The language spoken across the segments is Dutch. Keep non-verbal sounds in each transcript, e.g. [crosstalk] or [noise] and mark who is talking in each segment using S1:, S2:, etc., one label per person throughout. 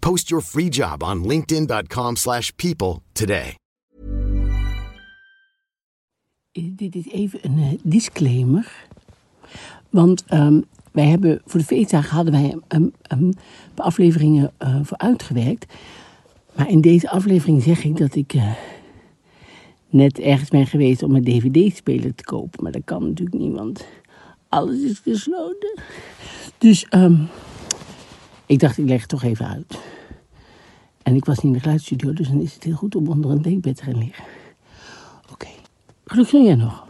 S1: Post your free job on linkedin.com slash people today.
S2: Eh, Dit is even een eh, disclaimer. Want ehm, wij hebben voor de feestdagen hadden wij een, een paar afleveringen eh, voor uitgewerkt. Maar in deze aflevering zeg ik dat ik eh, net ergens ben geweest om een dvd-speler te kopen. Maar dat kan natuurlijk niet, want alles is gesloten. Dus ehm, ik dacht, ik leg het toch even uit. En ik was niet in de geluidsstudio, dus dan is het heel goed om onder een dekbed te gaan liggen. Oké, gelukkig ben jij nog.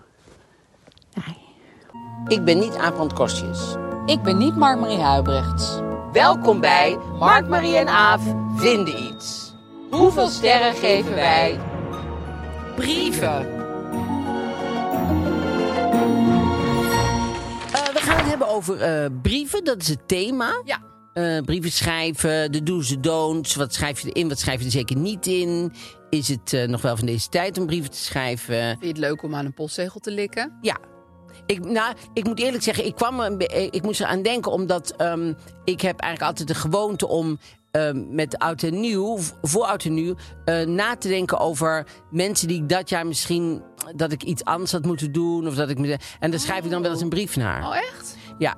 S2: Nee.
S3: Ik ben niet Aaf Kostjes.
S4: Ik ben niet Mark-Marie Huibrechts.
S3: Welkom bij Mark, Marie en Aaf vinden iets. Hoeveel sterren geven wij? Brieven. we gaan het hebben over eh, brieven, dat is het thema.
S4: Ja.
S3: Eh, brieven schrijven, de do's, de don'ts. Wat schrijf je erin, wat schrijf je er zeker niet in? Is het eh, nog wel van deze tijd om brieven te schrijven?
S4: Vind je het leuk om aan een postzegel te likken?
S3: Ja. Ik, nou, ik moet eerlijk zeggen, ik, kwam er een be- eh, ik moest eraan denken omdat ehm, ik heb eigenlijk altijd de gewoonte om ehm, met oud en nieuw, v- voor oud en nieuw, eh, na te denken over mensen die ik dat jaar misschien dat ik iets anders had moeten doen. Of dat ik me, en daar schrijf ik dan wel eens een brief naar.
S4: Oh, echt?
S3: Ja.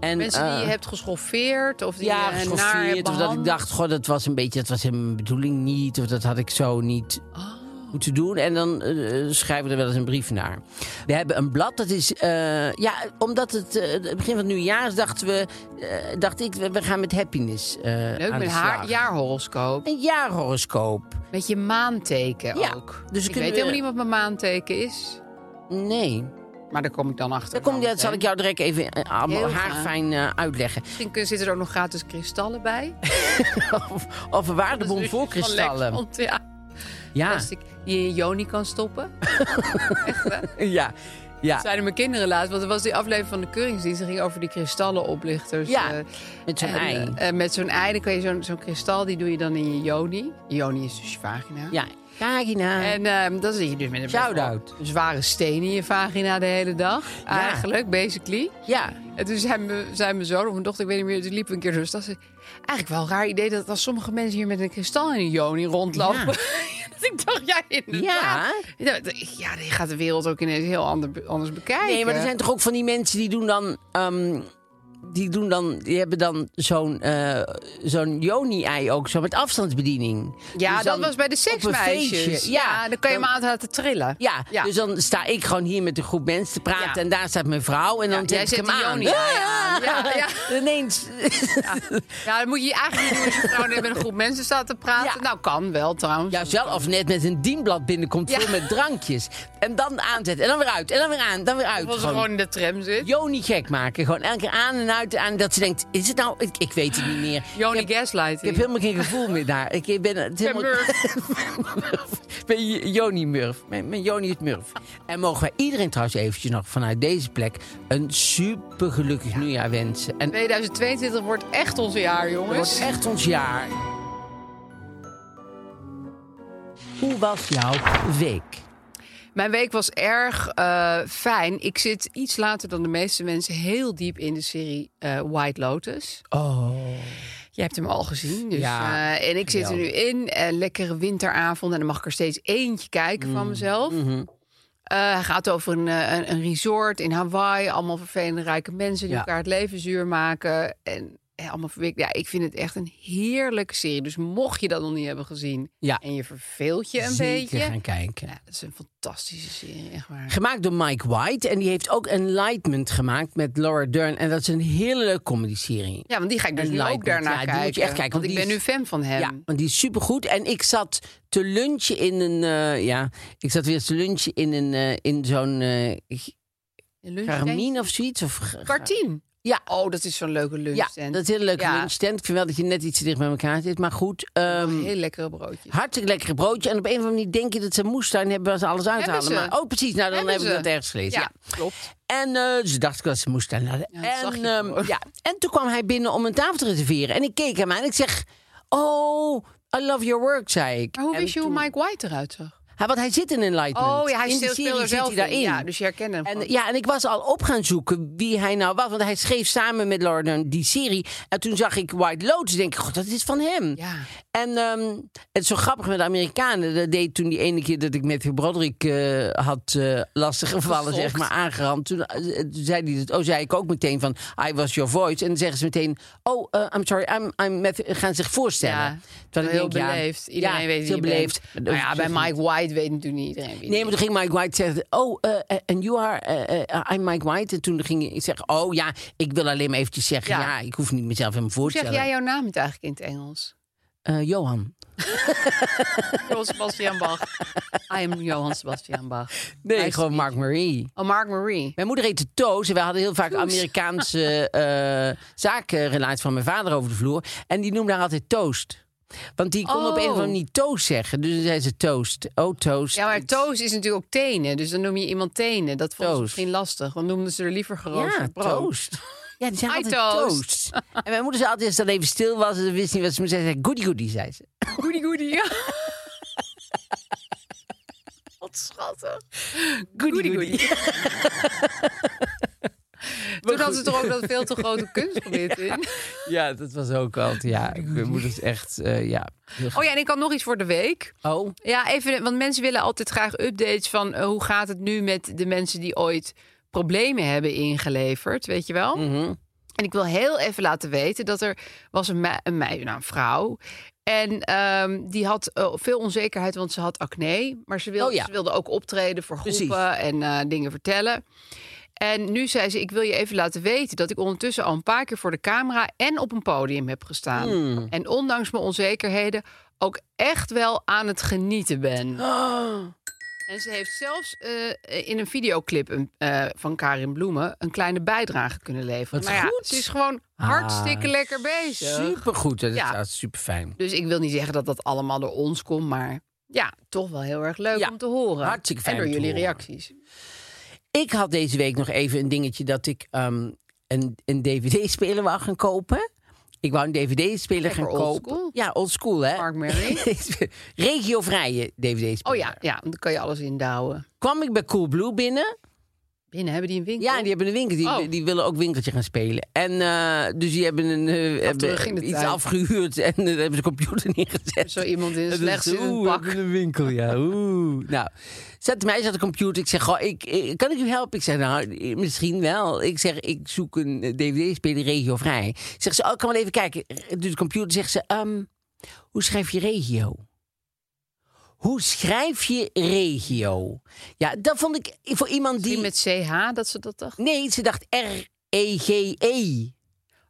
S3: En,
S4: Mensen die
S3: eh,
S4: je hebt geschoffeerd of die
S3: ja,
S4: je eh, naar hebt
S3: geschoffeerd. Of dat ik
S4: behandeld?
S3: dacht, goh, dat was een beetje, dat was in mijn bedoeling niet. Of dat had ik zo niet
S4: Oh.
S3: moeten doen. En dan eh, eh, schrijven we er wel eens een brief naar. We hebben een blad, dat is, eh, ja, omdat het eh, het begin van het nieuwjaar is, dachten we, eh, dacht ik, we we gaan met happiness eh
S4: Leuk
S3: aan
S4: met
S3: de
S4: haar
S3: slag.
S4: jaarhoroscoop.
S3: Een jaarhoroscoop.
S4: Met je maanteken
S3: Ja,
S4: ook.
S3: dus
S4: ik
S3: kunnen
S4: weet
S3: we-
S4: helemaal niet wat mijn maanteken is.
S3: Nee.
S4: Maar daar kom ik dan achter.
S3: Dan kom,
S4: Want,
S3: dat zal
S4: hè,
S3: ik jou direct even eh, allemaal
S4: Nou, Heel graag.
S3: haarfijn eh, uitleggen.
S4: Misschien kun- zitten er ook nog gratis kristallen
S3: [laughs]
S4: bij.
S3: of, of een waardebon voor kristallen.
S4: Want ja,
S3: Ja,
S4: plastic die je in je Joni kan stoppen.
S3: ja, ja.
S4: Dat zeiden mijn kinderen laatst. Want er was die aflevering van de Keuringsdienst. Die ging over die kristallenoplichters.
S3: Ja,
S4: eh,
S3: met zo'n
S4: en,
S3: ei.
S4: eh, met zo'n ei. Dan kan je zo'n zo'n kristal, die doe je dan in je joni. Je joni is dus je vagina.
S3: Ja, vagina.
S4: En ehm, dan zit je dus met een best wel
S3: Shout-out.
S4: zware steen in je vagina de hele dag. Eigenlijk, basically.
S3: ja,
S4: En toen zei, me, zei mijn zoon of mijn dochter, ik weet niet meer, die liep een keer door de stad. Zei, eigenlijk wel een raar idee dat als sommige mensen hier met een kristal in een joni rondlopen.
S3: Ja.
S4: dat ik dacht, [laughs] ja, inderdaad.
S3: ja.
S4: Ja, d- ja, die gaat de wereld ook ineens heel ander, anders bekijken.
S3: Nee, maar er zijn toch ook van die mensen die doen dan. ehm, die, doen dan, die hebben dan zo'n eh, zo'n Joni-ei ook zo met afstandsbediening.
S4: Ja,
S3: Dus
S4: dat
S3: dan
S4: was bij de
S3: op een
S4: seksmeisjes.
S3: feestje,
S4: Ja,
S3: Ja,
S4: dan kan je
S3: dan-
S4: hem altijd laten trillen.
S3: Ja, dus dan sta ik gewoon hier met een groep mensen te praten.
S4: Ja.
S3: En daar staat mijn vrouw. En dan
S4: Ja,
S3: zet
S4: jij
S3: ik
S4: zet
S3: hem
S4: die
S3: aan.
S4: Joni-ei
S3: [laughs]
S4: aan. Ja, ja.
S3: Ineens.
S4: Ja, dan Nou, moet je eigenlijk niet doen als je vrouw net met een groep mensen staat te praten.
S3: Ja.
S4: Nou, kan wel trouwens.
S3: Ja, zelf of net met een dienblad binnenkomt
S4: Ja.
S3: vol met drankjes. En dan aanzet. En dan weer uit. En dan weer aan. Dan weer uit.
S4: Of als ze gewoon in de tram zit.
S3: Joni gek maken. Gewoon elke keer aan en uit. Aan, dat ze denkt, is het nou... Ik, ik weet het niet meer.
S4: Joni
S3: Ik heb-
S4: gaslighting.
S3: Ik heb helemaal geen gevoel meer daar. Ik ben het
S4: ben
S3: helemaal... Murf. [laughs] Ik ben J- Joni Murf. Mijn, mijn Joni is Murf. En mogen wij iedereen trouwens eventjes nog vanuit deze plek... een super gelukkig nieuwjaar wensen. En
S4: 2022 wordt echt ons jaar,
S3: het wordt
S4: jongens.
S3: echt ons jaar. Hoe was jouw week?
S4: Mijn week was erg eh, fijn. Ik zit iets later dan de meeste mensen heel diep in de serie eh, White Lotus.
S3: Oh.
S4: Je hebt hem al gezien. Dus,
S3: Ja,
S4: eh, en ik zit er nu in. Eh, lekkere winteravond. En dan mag ik er steeds eentje kijken
S3: Mm,
S4: van mezelf.
S3: mhm.
S4: Eh, hij gaat over een, eh, een, een resort in Hawaii. Allemaal vervelende rijke mensen die
S3: Ja.
S4: elkaar het leven zuur maken. En eh, allemaal verwerkt. Ja, ik vind het echt een heerlijke serie. Dus mocht je dat nog niet hebben gezien
S3: Ja.
S4: en je verveelt je een
S3: Zeker
S4: beetje.
S3: gaan kijken.
S4: Ja, dat is een fantastische serie, echt waar.
S3: Gemaakt door Mike White. En die heeft ook Enlightenment gemaakt met Laura Dern. En dat is een hele leuke comedy-serie.
S4: Ja, want die ga ik dus nu ook
S3: Enlightened.
S4: daarna
S3: Ja, die
S4: kijken.
S3: moet je echt kijken,
S4: Want
S3: want
S4: ik
S3: die
S4: ben nu
S3: is-
S4: fan van hem.
S3: Ja, want die is supergoed. En ik zat te lunchen in een... eh, ja, ik zat weer te lunchen in, een, eh, in zo'n eh
S4: Lunch
S3: Carmine of zoiets. Of, Ga-
S4: Kartien.
S3: Ja.
S4: Oh, dat is zo'n leuke lunch.
S3: ja, dat is een hele leuke lunchstand. Ik vind wel dat je net iets te dicht bij elkaar zit. Maar goed, ehm,
S4: Heel lekkere broodjes.
S3: hartstikke lekkere broodje. En op een of andere manier denk je dat ze moestuin hebben waar ze alles uithalen.
S4: ze.
S3: Maar, oh, precies. Nou, dan
S4: Hebben
S3: hebben we
S4: ze.
S3: dat ergens gelezen. Ja.
S4: klopt.
S3: En eh ze dacht ik dat ze moest daarna.
S4: dat
S3: en,
S4: zag je
S3: ehm,
S4: gewoon.
S3: ja. en toen kwam hij binnen om een tafel te reserveren. En ik keek hem aan en ik zeg... Oh, I love your work, zei ik.
S4: Maar hoe
S3: En
S4: wist je
S3: toen-
S4: hoe Mike White eruit zag?
S3: Hij, want hij zit in Enlightenment.
S4: Oh ja, hij
S3: in de
S4: speelt-
S3: serie
S4: speelt er
S3: zit
S4: zelf
S3: hij daarin.
S4: in. Ja, dus je herkent hem
S3: En,
S4: gewoon.
S3: ja, en ik was al op gaan zoeken wie hij nou was. Want hij schreef samen met Laura Dern die serie. En toen zag ik White Lotus. denk ik, god, dat is van hem.
S4: Ja.
S3: En ehm, het is zo grappig met de Amerikanen. Dat deed toen die ene keer dat ik Matthew Broderick eh, had eh lastiggevallen,
S4: Gefokt.
S3: zeg maar, aangerand. Toen, eh, toen zei hij dat, oh, zei ik ook meteen van, I was your voice. En dan zeggen ze meteen, oh, eh, I'm sorry, I'm, I'm Matthew, gaan zich voorstellen.
S4: Ja,
S3: Terwijl ik
S4: heel
S3: denk, ja,
S4: beleefd. Iedereen
S3: ja,
S4: weet wie
S3: heel
S4: je
S3: beleefd.
S4: bent. Nou ja, bij Mike White weet natuurlijk niet iedereen wie
S3: Nee, maar
S4: die
S3: toen ging Mike White zeggen, oh, eh, eh, and you are, eh, eh, I'm Mike White. En toen ging ik zeggen, oh ja, ik wil alleen maar eventjes zeggen, ja,
S4: Ja.
S3: ik hoef niet mezelf helemaal voor
S4: Hoe
S3: te
S4: zeg
S3: stellen.
S4: jij jouw naam het eigenlijk in het Engels?
S3: Eh, Johan.
S4: Johan Sebastian Bach. [laughs] I am Johan Sebastian Bach.
S3: Nee,
S4: Nice
S3: gewoon
S4: to meet
S3: Mark Marie.
S4: you. Oh, Mark Marie.
S3: Mijn moeder heette Toos en wij hadden heel vaak
S4: Toos.
S3: Amerikaanse eh zakenrelaties van mijn vader over de vloer. En die noemde haar altijd Toast. Want die kon op een of
S4: Oh.
S3: andere manier Toast zeggen. Dus dan zei ze Toast. Oh, Toast.
S4: Ja, maar Toos is natuurlijk ook tenen. Dus dan noem je iemand tenen. Dat vond ze
S3: Toos.
S4: misschien lastig. Dan noemden ze er liever geroosterd
S3: Ja,
S4: brood.
S3: Toast. Ja, die zijn
S4: Hi,
S3: altijd
S4: Toast.
S3: Toast. En mijn moeder zei altijd, als ze dan even stil was en ze wist niet wat ze moest zeggen, zei ze, goody goody, zei ze.
S4: Goody goody. Ja. [laughs] Wat schattig. Goody goody. [laughs] Toen hadden ze toch ook dat veel te grote [laughs] kunstgebied in.
S3: Ja, dat was ook altijd, ja. Mijn moeder is echt, eh, ja. heel
S4: Oh ja, en ik had nog iets voor de week.
S3: Oh,
S4: Ja, even, want mensen willen altijd graag updates van eh, hoe gaat het nu met de mensen die ooit problemen hebben ingeleverd, weet je wel?
S3: Mhm.
S4: En ik wil heel even laten weten dat er was een, me- een meid, nou, een vrouw. En ehm, die had eh, veel onzekerheid, want ze had acne. Maar ze wilde,
S3: Oh ja.
S4: ze wilde ook optreden voor
S3: Precies.
S4: groepen en eh, dingen vertellen. En nu zei ze, ik wil je even laten weten dat ik ondertussen al een paar keer voor de camera en op een podium heb gestaan.
S3: Hmm.
S4: En ondanks mijn onzekerheden ook echt wel aan het genieten
S3: [gasps]
S4: ben.
S3: Oh.
S4: En ze heeft zelfs eh, in een videoclip een, eh, van Karin Bloemen een kleine bijdrage kunnen leveren.
S3: Wat
S4: Maar ja,
S3: goed.
S4: ze is gewoon hartstikke
S3: Ah,
S4: lekker bezig.
S3: supergoed. hè. Dat
S4: Ja.
S3: is super fijn.
S4: Dus ik wil niet zeggen dat dat allemaal door ons komt, maar ja, toch wel heel erg leuk
S3: Ja,
S4: om te horen.
S3: hartstikke fijn
S4: En door
S3: om te
S4: jullie
S3: horen.
S4: reacties.
S3: Ik had deze week nog even een dingetje dat ik ehm, een, een DVD-speler wou gaan kopen. Ik wou een DVD-speler
S4: Lekker
S3: gaan
S4: old
S3: kopen.
S4: school.
S3: Ja, old school, hè?
S4: Mark
S3: [laughs]
S4: Mary.
S3: Regiovrije DVD-speler.
S4: Oh ja, ja, want dan kan je alles indouwen.
S3: Kwam ik bij Coolblue binnen.
S4: Binnen hebben die een winkel.
S3: Ja, die hebben een winkel. Die,
S4: Oh.
S3: die willen ook winkeltje gaan spelen. En eh, dus die hebben, een, eh,
S4: terug in de
S3: hebben iets
S4: tijd.
S3: afgehuurd en eh, hebben ze computer [laughs] neergezet.
S4: Zo
S3: [laughs]
S4: iemand in
S3: Dat
S4: slechts
S3: is- eh,
S4: in een
S3: oeh,
S4: pak.
S3: in een winkel,
S4: [laughs]
S3: ja. Oeh. Nou, zet mij eens aan de computer. Ik zeg, goh, ik, ik- kan ik u helpen? Ik zeg, nou, eh, misschien wel. Ik zeg, ik zoek een eh, dvd-speler regiovrij. Zegt ze, oh, ik kan wel even kijken. Doet de computer, zegt ze, ehm, hoe schrijf je regio? Hoe schrijf je regio? Ja, dat vond ik eh, voor iemand
S4: Die
S3: die...
S4: met CH, dat ze dat dacht.
S3: Nee, ze dacht E R-E-G-E.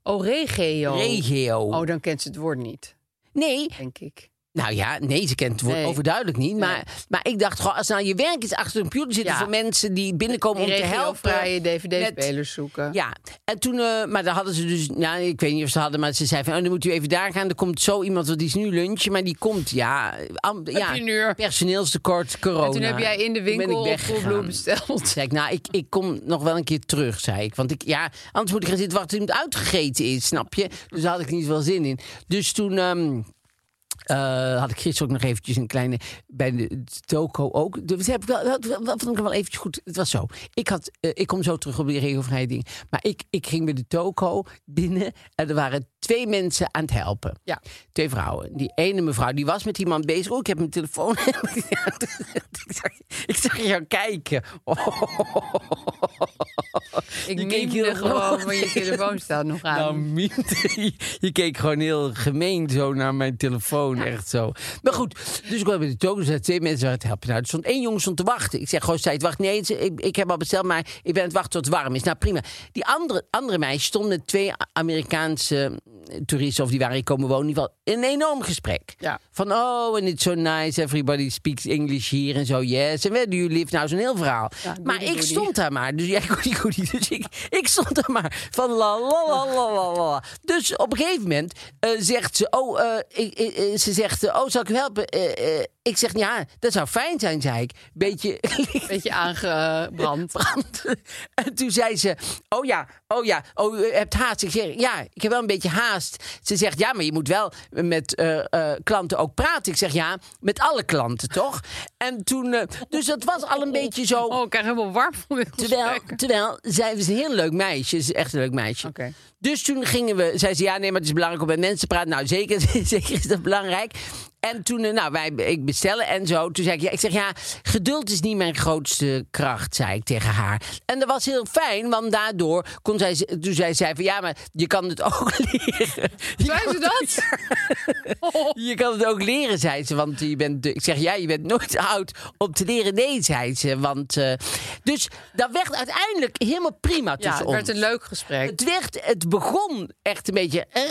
S4: Oh, regio.
S3: Regio.
S4: Oh, dan kent ze het woord niet,
S3: nee,
S4: denk ik.
S3: Nou ja, nee, ze kent het woord
S4: Nee.
S3: overduidelijk niet. Maar, maar ik dacht, goh, als nou je werk is achter de computer zitten
S4: Ja.
S3: voor mensen die binnenkomen
S4: Die
S3: om te helpen.
S4: regiovrije dvd-spelers
S3: met-
S4: zoeken.
S3: Ja, en toen, eh, maar daar hadden ze dus, nou, ik weet niet of ze hadden, maar ze zei van, oh, dan moet u even daar gaan. Er komt zo iemand, want die is nu lunchen, maar die komt, ja, am- ja
S4: je een uur?
S3: personeelstekort, corona.
S4: En toen heb jij in de
S3: Toen ben
S4: winkel
S3: ik
S4: op
S3: weggegaan.
S4: Coolblue besteld.
S3: Zei ik, nou, ik, ik kom nog wel een keer terug, zei ik. Want ik, ja, anders moet ik gaan zitten wachten tot iemand uitgegeten is, snap je? Dus daar had ik niet wel zin in. Dus toen ehm, eh, had ik gisteren ook nog eventjes een kleine... Bij de toko ook. Dus heb ik wel, dat, dat vond ik wel eventjes goed. Het was zo. Ik, had, eh, ik kom zo terug op die regelvrije ding. Maar ik, ik ging bij de toko binnen en er waren twee mensen aan het helpen.
S4: Ja.
S3: Twee vrouwen. Die ene mevrouw, die was met iemand bezig. Oh, ik heb mijn telefoon. [laughs] ik, zag, ik zag jou kijken. Oh.
S4: Ik
S3: Je keek
S4: mimde
S3: heel-
S4: gewoon, [laughs] maar je telefoon staat nog aan.
S3: Nou, Miet, je- je keek gewoon heel gemeen zo naar mijn telefoon. Echt zo. Maar goed, dus ik kwam met de tokens. Er twee mensen aan het helpen. Nou, er stond één jongen stond te wachten. Ik zeg gewoon, zei het wacht. Nee, het is- ik, ik heb al besteld, maar ik ben aan het wachten tot het warm is. Nou, prima. Die andere, andere meisjes stonden twee Amerikaanse eh, toeristen... of die waren hier komen wonen, in ieder geval een enorm gesprek.
S4: Ja.
S3: Van, oh, and it's so nice, everybody speaks English here en zo, yes. En where do you live? Nou, zo'n heel verhaal. maar ik
S4: goody.
S3: stond daar maar. Dus jij goody goody. Dus ik, ik stond daar maar van la la la la la la. Dus op een gegeven moment eh, zegt ze, oh, eh, ik, ik- eh, ze zegt, eh, oh, zal ik u helpen? Eh, eh, ik zeg, ja, dat zou fijn zijn, zei ik. Beetje [laughs]
S4: Beetje aangebrand.
S3: brand. En toen zei ze, oh ja, oh ja, oh, u hebt haast. Ik zeg, ja, ik heb wel een beetje haast. Ze zegt, ja, maar je moet wel met eh, eh, klanten ook praten. Ik zeg, ja, met alle klanten, toch? En toen, eh, dus dat was al een beetje zo...
S4: Oh, ik krijg helemaal warm van dit
S3: Terwijl,
S4: gesprek.
S3: terwijl zij was een heel leuk meisje. Ze is echt een leuk meisje.
S4: Oké.
S3: Dus toen gingen we, zei ze, ja, nee, maar het is belangrijk om met mensen te praten. Nou, zeker, [laughs] zeker is dat belangrijk. En toen, eh, nou, wij ik bestellen en zo. Toen zei ik, ja, ik zeg, ja, geduld is niet mijn grootste kracht, zei ik tegen haar. En dat was heel fijn, want daardoor kon zij, toen zij zei van, ja, maar je kan het ook [laughs] leren. Je
S4: Zei
S3: kan het-
S4: ze dat?
S3: je kan het ook leren, zei ze. Want je bent, ik zeg, ja, je bent nooit oud om te leren. Nee, zei ze. Want, eh, dus dat werd uiteindelijk helemaal prima
S4: Ja,
S3: tussen
S4: het
S3: ons.
S4: werd een leuk gesprek.
S3: Het, werd, het begon echt een beetje... eh,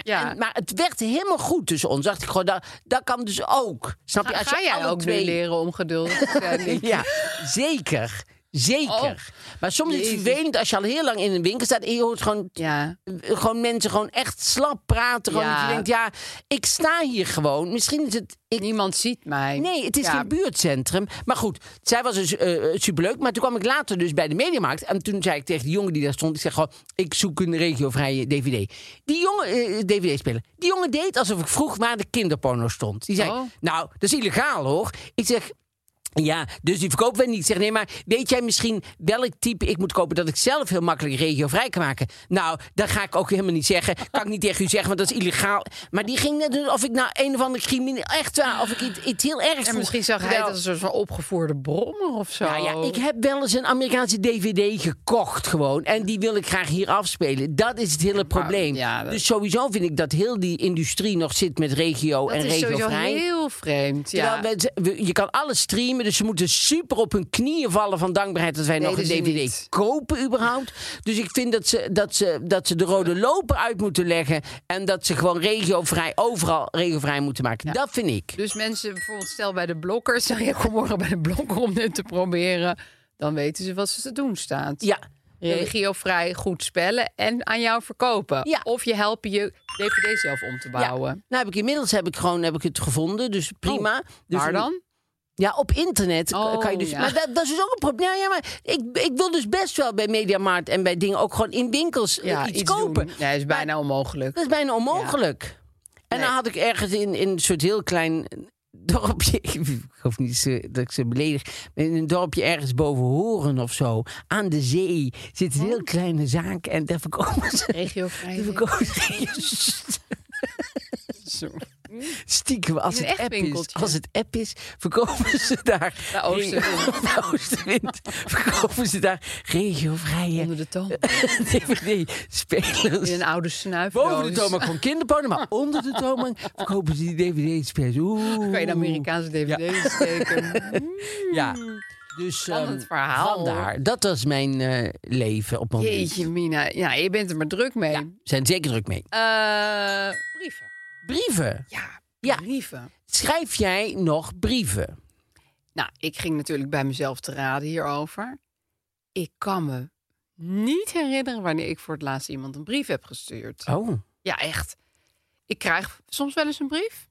S4: Ja.
S3: en- maar het werd helemaal goed tussen ons. dacht ik gewoon, dat, dat kan dus ook. Snap je?
S4: Ga,
S3: Als
S4: ga
S3: je
S4: jij
S3: alle
S4: ook
S3: twee-
S4: nu leren om geduldig te zijn?
S3: [laughs]
S4: Nick?
S3: Ja, zeker. Zeker. maar soms is het
S4: Oh, Jezus.
S3: vervelend als je al heel lang in een winkel staat... en je hoort gewoon
S4: Ja.
S3: gewoon mensen gewoon echt slap praten. Gewoon
S4: Ja.
S3: dat je denkt, ja, ik sta hier gewoon. Misschien is het... Ik,
S4: Niemand ziet mij.
S3: nee, het is
S4: Ja.
S3: geen buurtcentrum. Maar goed, zij was dus eh, superleuk. Maar toen kwam ik later dus bij de Mediamarkt. En toen zei ik tegen die jongen die daar stond... Ik zeg gewoon, ik zoek een regiovrije DVD. Die jongen, eh, DVD-speler. Die jongen deed alsof ik vroeg waar de kinderporno stond. Die zei,
S4: Oh.
S3: nou, dat is illegaal hoor. Ik zeg... Ja, dus die verkopen we niet. Ik zeg, nee, maar weet jij misschien welk type ik moet kopen... dat ik zelf heel makkelijk regiovrij kan maken? Nou, dat ga ik ook helemaal niet
S4: [laughs]
S3: zeggen. Kan ik niet tegen u zeggen, want dat is illegaal. Maar die ging net doen of ik nou een of andere crimineel... Echt waar, of ik iets, iets heel ergs
S4: En
S3: vroeg.
S4: misschien zag hij
S3: Terwijl-
S4: dat als een soort van opgevoerde brommer of zo.
S3: nou ja, ik heb wel eens een Amerikaanse DVD gekocht gewoon. En die wil ik graag hier afspelen. Dat is het hele probleem.
S4: ja, dat-
S3: Dus sowieso vind ik dat heel die industrie nog zit met regio
S4: dat
S3: en
S4: is sowieso
S3: regiovrij.
S4: heel vreemd. Ja.
S3: Terwijl we- we- je kan alles streamen, dus ze moeten super op hun knieën vallen van dankbaarheid dat wij nog een
S4: Deden ze
S3: DVD
S4: niet.
S3: kopen überhaupt. Dus ik vind dat ze, dat, ze, dat ze de rode loper uit moeten leggen en dat ze gewoon regiovrij, overal regiovrij moeten maken. Dat vind ik.
S4: Dus mensen, bijvoorbeeld stel bij de blokker, [laughs] zeg je kom morgen bij de blokker om dit te proberen. Dan weten ze wat ze te doen staat.
S3: Ja.
S4: Regiovrij goed spellen en aan jou verkopen.
S3: Ja.
S4: Of je helpen je DVD zelf om te bouwen. Oh,
S3: Nou heb ik inmiddels heb ik gewoon heb ik het gevonden, dus prima. dus
S4: Waar dan?
S3: Ja, op internet k-
S4: Oh,
S3: kan je dus.
S4: ja.
S3: Maar dat, dat is dus ook een probleem. Ja, ja, maar ik, ik wil dus best wel bij Mediamarkt en bij dingen ook gewoon in winkels eh, iets, kopen.
S4: doen. Nee, is bijna onmogelijk.
S3: Dat is bijna onmogelijk. En dan had ik ergens in, in een soort heel klein eh, dorpje. [laughs] Ik hoop niet ze- dat ik ze beledig. maar In een dorpje ergens boven Horen of zo. Aan de zee zit een heel kleine zaak. En daar verkopen ze.
S4: Regiovrij.
S3: daar verkopen [laughs] ze- Stiekem, als
S4: In een
S3: het,
S4: echt
S3: app is,
S4: winkeltje.
S3: als het app is, verkopen ze daar...
S4: De oostenwind.
S3: [laughs] De oostenwind. verkopen ze daar regiovrije [laughs]
S4: Onder de toon.
S3: DVD-spelers.
S4: In een oude snuif.
S3: Boven de toonbank gewoon kinderporno,
S4: [laughs]
S3: maar onder de toonbank verkopen ze die DVD-spelers. Oeh.
S4: Kan je de Amerikaanse DVD
S3: [laughs]
S4: steken?
S3: Ja. Dus ehm,
S4: Spannend verhaal.
S3: vandaar. Dat was mijn eh, leven op een
S4: Jeetje, Mina. Ja, je bent er maar druk mee.
S3: Ja, zijn zeker druk mee.
S4: Eh, brieven.
S3: Brieven.
S4: Ja,
S3: Ja.
S4: brieven.
S3: Schrijf jij nog brieven?
S4: Nou, ik ging natuurlijk bij mezelf te raden hierover. Ik kan me niet herinneren wanneer ik voor het laatst iemand een brief heb gestuurd.
S3: Oh.
S4: Ja, echt. Ik krijg soms wel eens een brief.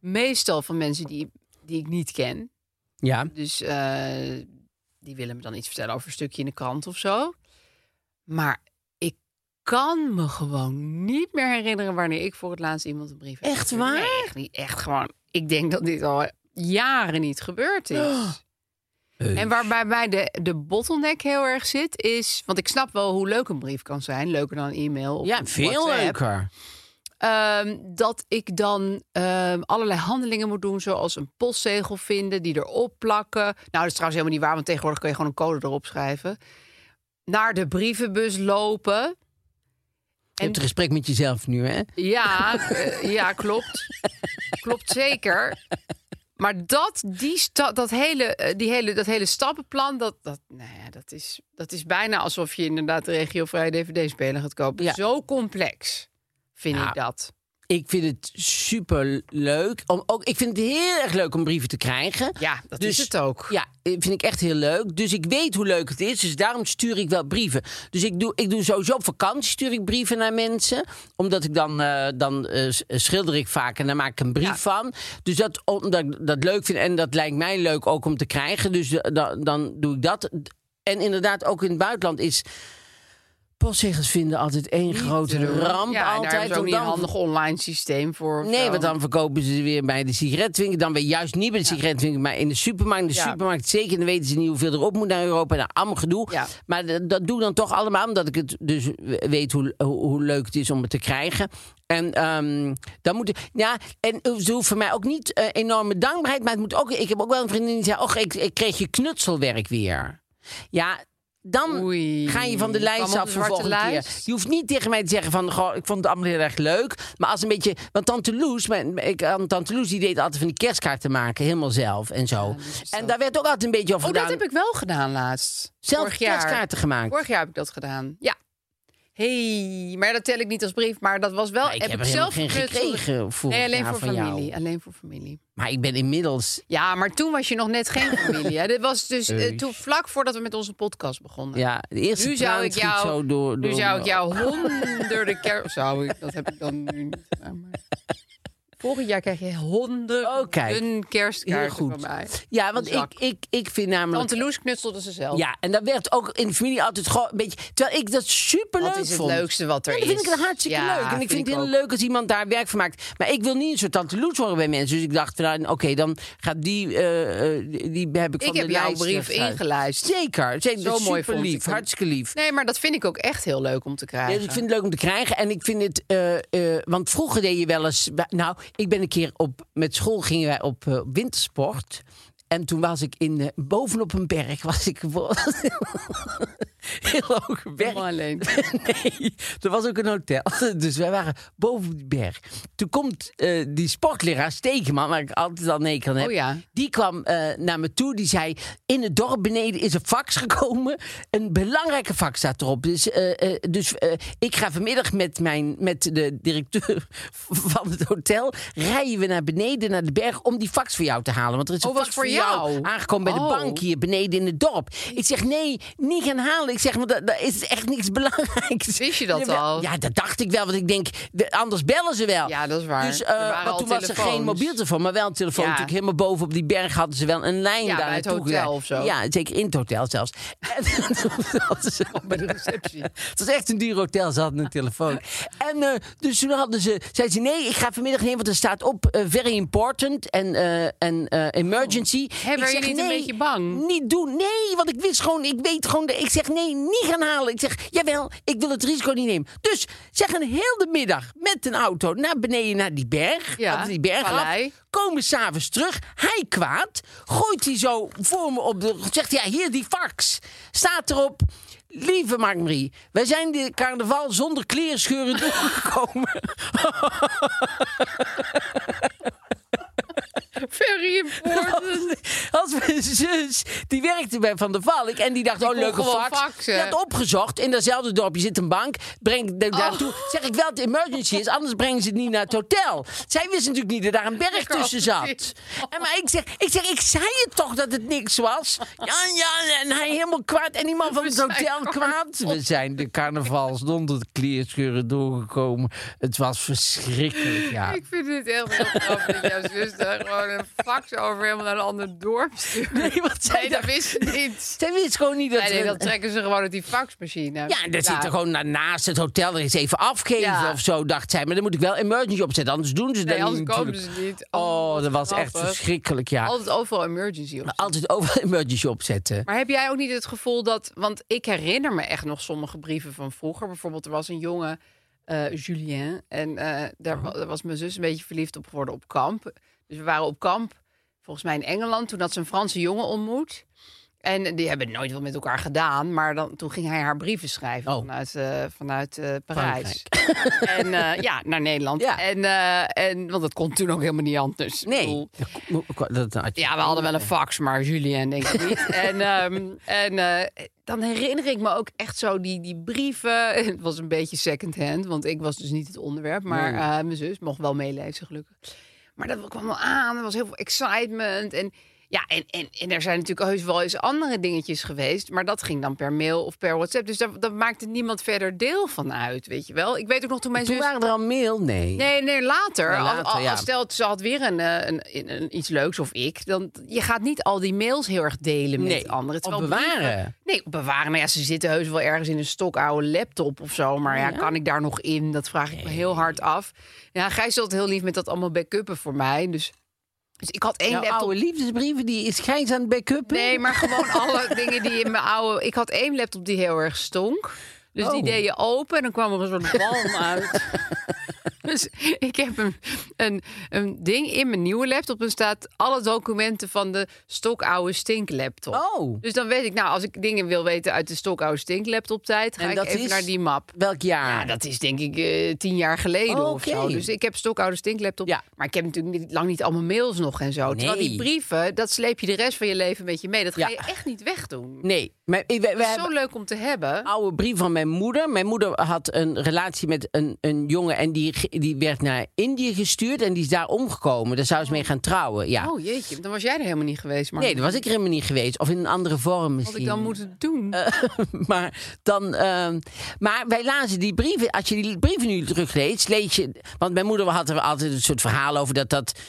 S4: Meestal van mensen die, die ik niet ken.
S3: Ja.
S4: Dus eh, die willen me dan iets vertellen over een stukje in de krant of zo. Maar ik kan me gewoon niet meer herinneren wanneer ik voor het laatst iemand een brief heb.
S3: Echt
S4: gestuurd.
S3: waar?
S4: Nee, echt niet. Echt gewoon. Ik denk dat dit al jaren niet gebeurd is.
S3: Oh.
S4: En waarbij bij de, de bottleneck heel erg zit, is. Want ik snap wel hoe leuk een brief kan zijn. Leuker dan een e-mail. Of
S3: Ja,
S4: een
S3: veel
S4: WhatsApp.
S3: leuker.
S4: Ehm, dat ik dan ehm, allerlei handelingen moet doen, zoals een postzegel vinden, die erop plakken. Nou, dat is trouwens helemaal niet waar, want tegenwoordig kun je gewoon een code erop schrijven. naar de brievenbus lopen.
S3: Je hebt een gesprek met jezelf nu, hè?
S4: Ja, eh, ja klopt. Klopt zeker. Maar dat, die sta, dat, hele, eh, die hele, dat hele stappenplan, dat, dat, nou ja, dat, is, dat is bijna alsof je inderdaad de regiovrije dvd-speler gaat kopen.
S3: Ja.
S4: Zo complex vind
S3: Ja.
S4: ik dat.
S3: Ik vind het super leuk. Om, ook, ik vind het heel erg leuk om brieven te krijgen.
S4: Ja, dat
S3: Dus-
S4: is het ook.
S3: Ja, eh, vind ik echt heel leuk. Dus ik weet hoe leuk het is. Dus daarom stuur ik wel brieven. Dus ik doe, ik doe sowieso op vakantie stuur ik brieven naar mensen. Omdat ik dan, eh, dan eh, s- eh, schilder ik vaak en daar maak ik een brief
S4: Ja.
S3: van. Dus dat, omdat ik dat leuk vind en dat lijkt mij leuk ook om te krijgen. Dus eh, da- dan doe ik dat. En inderdaad, ook in het buitenland is. Postzegels vinden altijd één grote Oh, dus ramp.
S4: ja, en daar
S3: altijd.
S4: hebben ze ook
S3: want
S4: niet een
S3: dan-
S4: handig online systeem voor. of
S3: Nee,
S4: zo.
S3: want dan verkopen ze weer bij de sigaretwinkel. Dan weer juist niet bij de sigaretwinkel, maar in de supermarkt. In de
S4: Ja.
S3: supermarkt zeker. Dan weten ze niet hoeveel erop moet naar Europa. Nou, allemaal gedoe.
S4: Ja.
S3: Maar d- dat doe ik dan toch allemaal. Omdat ik het dus weet hoe, hoe, hoe leuk het is om het te krijgen. En ehm, dan moet ik- ja, en ze hoeven mij ook niet eh, enorme dankbaarheid. Maar het moet ook, ik heb ook wel een vriendin die zei: Och, ik, ik kreeg je knutselwerk weer. Ja, dan
S4: Oei,
S3: ga je van de lijst
S4: kwam op
S3: af
S4: de
S3: voor
S4: zwarte
S3: volgende keer.
S4: lijst?
S3: Je hoeft niet tegen mij te zeggen van, goh, ik vond het allemaal heel erg leuk. Maar als een beetje, want Tante Loes, mijn, ik, Tante Loes die deed altijd van die kerstkaarten maken, helemaal zelf en zo. en daar werd ook altijd een beetje over
S4: dus Oh, dat
S3: gedaan.
S4: heb ik wel gedaan laatst.
S3: Zelf
S4: Vorig jaar.
S3: kerstkaarten gemaakt.
S4: Vorig jaar heb ik dat gedaan. Ja. hey, maar dat tel ik niet als brief, maar dat was wel.
S3: Maar ik heb er
S4: ik
S3: helemaal
S4: zelf
S3: geen
S4: geknutseld.
S3: gekregen vorig
S4: Nee, alleen
S3: jaar
S4: voor
S3: van jou.
S4: familie. Alleen voor familie.
S3: Maar ik ben inmiddels,
S4: Ja, maar toen was je nog net
S3: [laughs]
S4: geen familie. Hè? Dit was dus eh,
S3: Heus.
S4: toen vlak voordat we met onze podcast begonnen.
S3: ja, de eerste
S4: Nu zou
S3: traan
S4: ik
S3: schiet
S4: jou,
S3: zo door,
S4: nu
S3: door-
S4: zou ik jou
S3: [laughs]
S4: honderden keer. Zou ik, dat heb ik dan nu niet gedaan. Maar... Vorig jaar kreeg je
S3: Oh, kijk.
S4: honderden
S3: Heel
S4: kerstkaarten
S3: goed.
S4: van mij.
S3: Ja, want
S4: Een zak.
S3: ik, ik, ik vind namelijk...
S4: Tante Loes knutselde ze zelf.
S3: Ja, en dat werd ook in de familie altijd gewoon een beetje... Terwijl ik dat superleuk
S4: Dat is het
S3: vond.
S4: leukste wat er
S3: Ja,
S4: is.
S3: dat vind ik het hartstikke
S4: Ja,
S3: leuk. En ik vind, het heel
S4: ook.
S3: leuk als iemand daar werk van maakt. Maar ik wil niet een soort tante Loes worden bij mensen. Dus ik dacht, van, nou, oké, dan gaat die... eh, eh, die heb ik van de
S4: Ik heb jouw
S3: lijst
S4: brief
S3: weggehaald.
S4: ingeluisterd.
S3: Zeker, zeker.
S4: Zo mooi vond ik
S3: lief,
S4: hem.
S3: hartstikke lief.
S4: Nee, maar dat vind ik ook echt heel leuk om te
S3: Ja,
S4: krijgen.
S3: dus ik vind het leuk om te krijgen. En ik vind het. eh, eh, want vroeger deed je wel eens. Nou, ik ben een keer op. Met school gingen wij op eh, wintersport. En toen was ik in. eh, bovenop een berg was ik. voor- [laughs] Heel hoge berg.
S4: Helemaal alleen.
S3: [laughs] Nee, er was ook een hotel. [laughs] Dus wij waren boven op die berg. Toen komt eh, die sportleraar Stekeman, waar ik altijd al nee kan hebben.
S4: Oh ja.
S3: Die kwam eh, naar me toe. Die zei: In het dorp beneden is een fax gekomen. Een belangrijke fax staat erop. Dus, eh, eh, dus eh, ik ga vanmiddag met, mijn, met de directeur [laughs] van het hotel. Rijden we naar beneden, naar de berg. om die fax voor jou te halen. Want er is een
S4: Oh, was
S3: fax
S4: voor
S3: voor jou,
S4: jou?
S3: aangekomen bij
S4: Oh.
S3: de bank hier beneden in het dorp. Ik zeg: Nee, niet gaan halen. Ik zeg: Want dat, dat is echt niks [laughs] belangrijks.
S4: Wist je dat
S3: Jawel.
S4: al?
S3: Ja, dat dacht ik wel. Want ik denk, de- anders bellen ze wel.
S4: Ja, dat is waar.
S3: Dus,
S4: Er
S3: eh,
S4: waren
S3: maar
S4: al
S3: toen was er
S4: telefoons.
S3: geen mobiel telefoon, maar wel een telefoon.
S4: Ja.
S3: Natuurlijk helemaal boven op die berg hadden ze wel een lijn
S4: Ja,
S3: daar
S4: bij het
S3: naartoe
S4: hotel
S3: gedaan.
S4: of zo.
S3: Ja, zeker in het hotel zelfs. [laughs] En dat was-
S4: Bij de receptie.
S3: het was echt een duur hotel, ze hadden een telefoon. En eh, dus toen hadden ze, zei ze, nee, ik ga vanmiddag nemen, want er staat op eh, very important en, eh, en eh, emergency.
S4: Hey,
S3: ik
S4: waren
S3: zeg,
S4: jullie niet een
S3: nee,
S4: beetje bang?
S3: Niet doen, nee, want ik wist gewoon, ik weet gewoon, ik zeg nee, niet gaan halen. Ik zeg, jawel, ik wil het risico niet nemen. Dus zeg een heel de middag met een auto naar beneden naar die berg,
S4: Ja,
S3: hadden die berg
S4: vallei.
S3: af, komen s'avonds terug. Hij kwaad. Gooit hij zo voor me op de. Zegt hij, ja, hier die fax. Staat erop. Lieve Mark-Marie, wij zijn de carnaval zonder kleerscheuren [laughs] doorgekomen. [laughs]
S4: Very important.
S3: Als mijn zus, die werkte bij Van der Valk en die dacht, oh,
S4: kon
S3: leuke
S4: gewoon
S3: fax.
S4: faxen.
S3: Die had opgezocht, in datzelfde dorpje zit een bank, breng ik
S4: Oh.
S3: daartoe. Zeg ik wel dat het emergency is, anders brengen ze het niet naar het hotel. Zij wist natuurlijk niet dat daar een berg
S4: Lekker
S3: tussen zat.
S4: advies.
S3: En maar ik zeg, ik zeg, ik zei het toch dat het niks was? Ja, ja, en hij helemaal kwaad. En die man van
S4: We
S3: het
S4: zijn
S3: hotel kwaad. We zijn de carnavals zonder de kleerscheuren doorgekomen. Het was verschrikkelijk, ja.
S4: Ik vind het heel heel grappig dat jouw zus daar gewoon een fax over helemaal naar een ander dorp stuurt.
S3: [laughs] Nee, want zij
S4: Nee, dat
S3: dacht-
S4: wist ze niet.
S3: Zij wist gewoon niet [laughs] dat...
S4: Nee, nee,
S3: er-
S4: dat trekken ze gewoon uit die faxmachine.
S3: Ja, en dat zit er gewoon na- naast het hotel. Er is even afgeven
S4: Ja.
S3: of zo, dacht zij. Maar dan moet ik wel emergency opzetten, anders doen ze dat
S4: Nee,
S3: niet
S4: anders komen
S3: natuurlijk.
S4: ze niet.
S3: Oh,
S4: wat
S3: dat was echt
S4: grappig.
S3: verschrikkelijk, ja. Nou.
S4: Altijd overal emergency op.
S3: Altijd overal [laughs] emergency opzetten.
S4: Maar heb jij ook niet het gevoel dat... Want ik herinner me echt nog sommige brieven van vroeger. Bijvoorbeeld, er was een jongen, eh, Julien. En eh, daar,
S3: Mhm.
S4: wa- daar was mijn zus een beetje verliefd op geworden op kamp. Dus we waren op kamp, volgens mij in Engeland. Toen had ze een Franse jongen ontmoet. En die hebben nooit wat met elkaar gedaan. Maar dan, toen ging hij haar brieven schrijven
S3: Oh.
S4: vanuit, eh, vanuit eh, Parijs. En eh, ja, naar Nederland.
S3: [laughs] Ja.
S4: En, eh, en, want dat kon toen ook helemaal niet anders. Ik
S3: Nee.
S4: bedoel,
S3: Dat, dat had je-
S4: ja, we hadden wel een fax, maar Julien denk ik niet. en ehm, en eh, dan herinner ik me ook echt zo die, die brieven. [laughs] Het was een beetje second-hand, want ik was dus niet het onderwerp. Maar eh, mijn zus mocht wel meelezen, gelukkig. Maar dat kwam wel aan, er was heel veel excitement. En, ja, en, en, en er zijn natuurlijk heus wel eens andere dingetjes geweest. Maar dat ging dan per mail of per WhatsApp. Dus daar, daar maakte niemand verder deel van uit, weet je wel. Ik weet ook nog toen mijn
S3: Toen
S4: zus...
S3: waren er al mail? Nee.
S4: Nee, nee, later.
S3: Nee, later,
S4: Al- al-
S3: ja.
S4: als Stel, ze had weer een, eh, een, een- een- iets leuks of ik. Dan, je gaat niet al die mails heel erg delen met
S3: Nee,
S4: anderen.
S3: of
S4: Terwijl
S3: bewaren.
S4: brieven- nee, bewaren. Nou ja, ze zitten heus wel ergens in een stokoude laptop of zo. Maar ja, kan ik daar nog in? Dat vraag ik me heel hard af. Ja, Gijs zat heel lief met dat allemaal backuppen voor mij. Dus, dus ik had één
S3: Jouw
S4: laptop.
S3: Nou, oude liefdesbrieven, die is Gijs aan het backuppen?
S4: Nee, maar gewoon alle dingen die in mijn oude... Ik had één laptop die heel erg stonk. Dus die
S3: Oh.
S4: deed je open en dan kwam er een soort balm
S3: [laughs]
S4: uit. Dus ik heb een, een, een ding in mijn nieuwe laptop. En staat alle documenten van de stokoude stinklaptop.
S3: Oh.
S4: Dus dan weet ik, nou, als ik dingen wil weten uit de stokoude stinklaptop tijd... ga
S3: En
S4: ik
S3: dat
S4: even
S3: is-
S4: naar die map.
S3: Welk jaar?
S4: Ja, Ah, dat is denk ik eh, tien jaar geleden
S3: Oh,
S4: of
S3: oké.
S4: zo. Dus ik heb stokoude stinklaptop.
S3: Ja.
S4: Maar ik heb natuurlijk niet, lang niet allemaal mails nog en zo. Terwijl
S3: Nee.
S4: die brieven, dat sleep je de rest van je leven met je mee. Dat ga
S3: Ja.
S4: je echt niet wegdoen.
S3: Nee. Maar, we, Ah,
S4: Dat is zo leuk om te hebben.
S3: oude brief van mijn moeder. Mijn moeder had een relatie met een, een jongen en die, ge- die werd naar Indië gestuurd en die is daar omgekomen. Daar zou ze mee gaan trouwen, ja.
S4: Oh jeetje, dan was jij er helemaal niet geweest. Maar
S3: nee, dat was ik er helemaal niet geweest. Of in een andere vorm
S4: Wat
S3: misschien.
S4: ik dan moeten doen.
S3: Eh. [laughs] maar, dan, ehm, maar wij lazen die brieven. Als je die brieven nu terugleest, lees je... Want mijn moeder had er altijd een soort verhaal over dat dat... eh,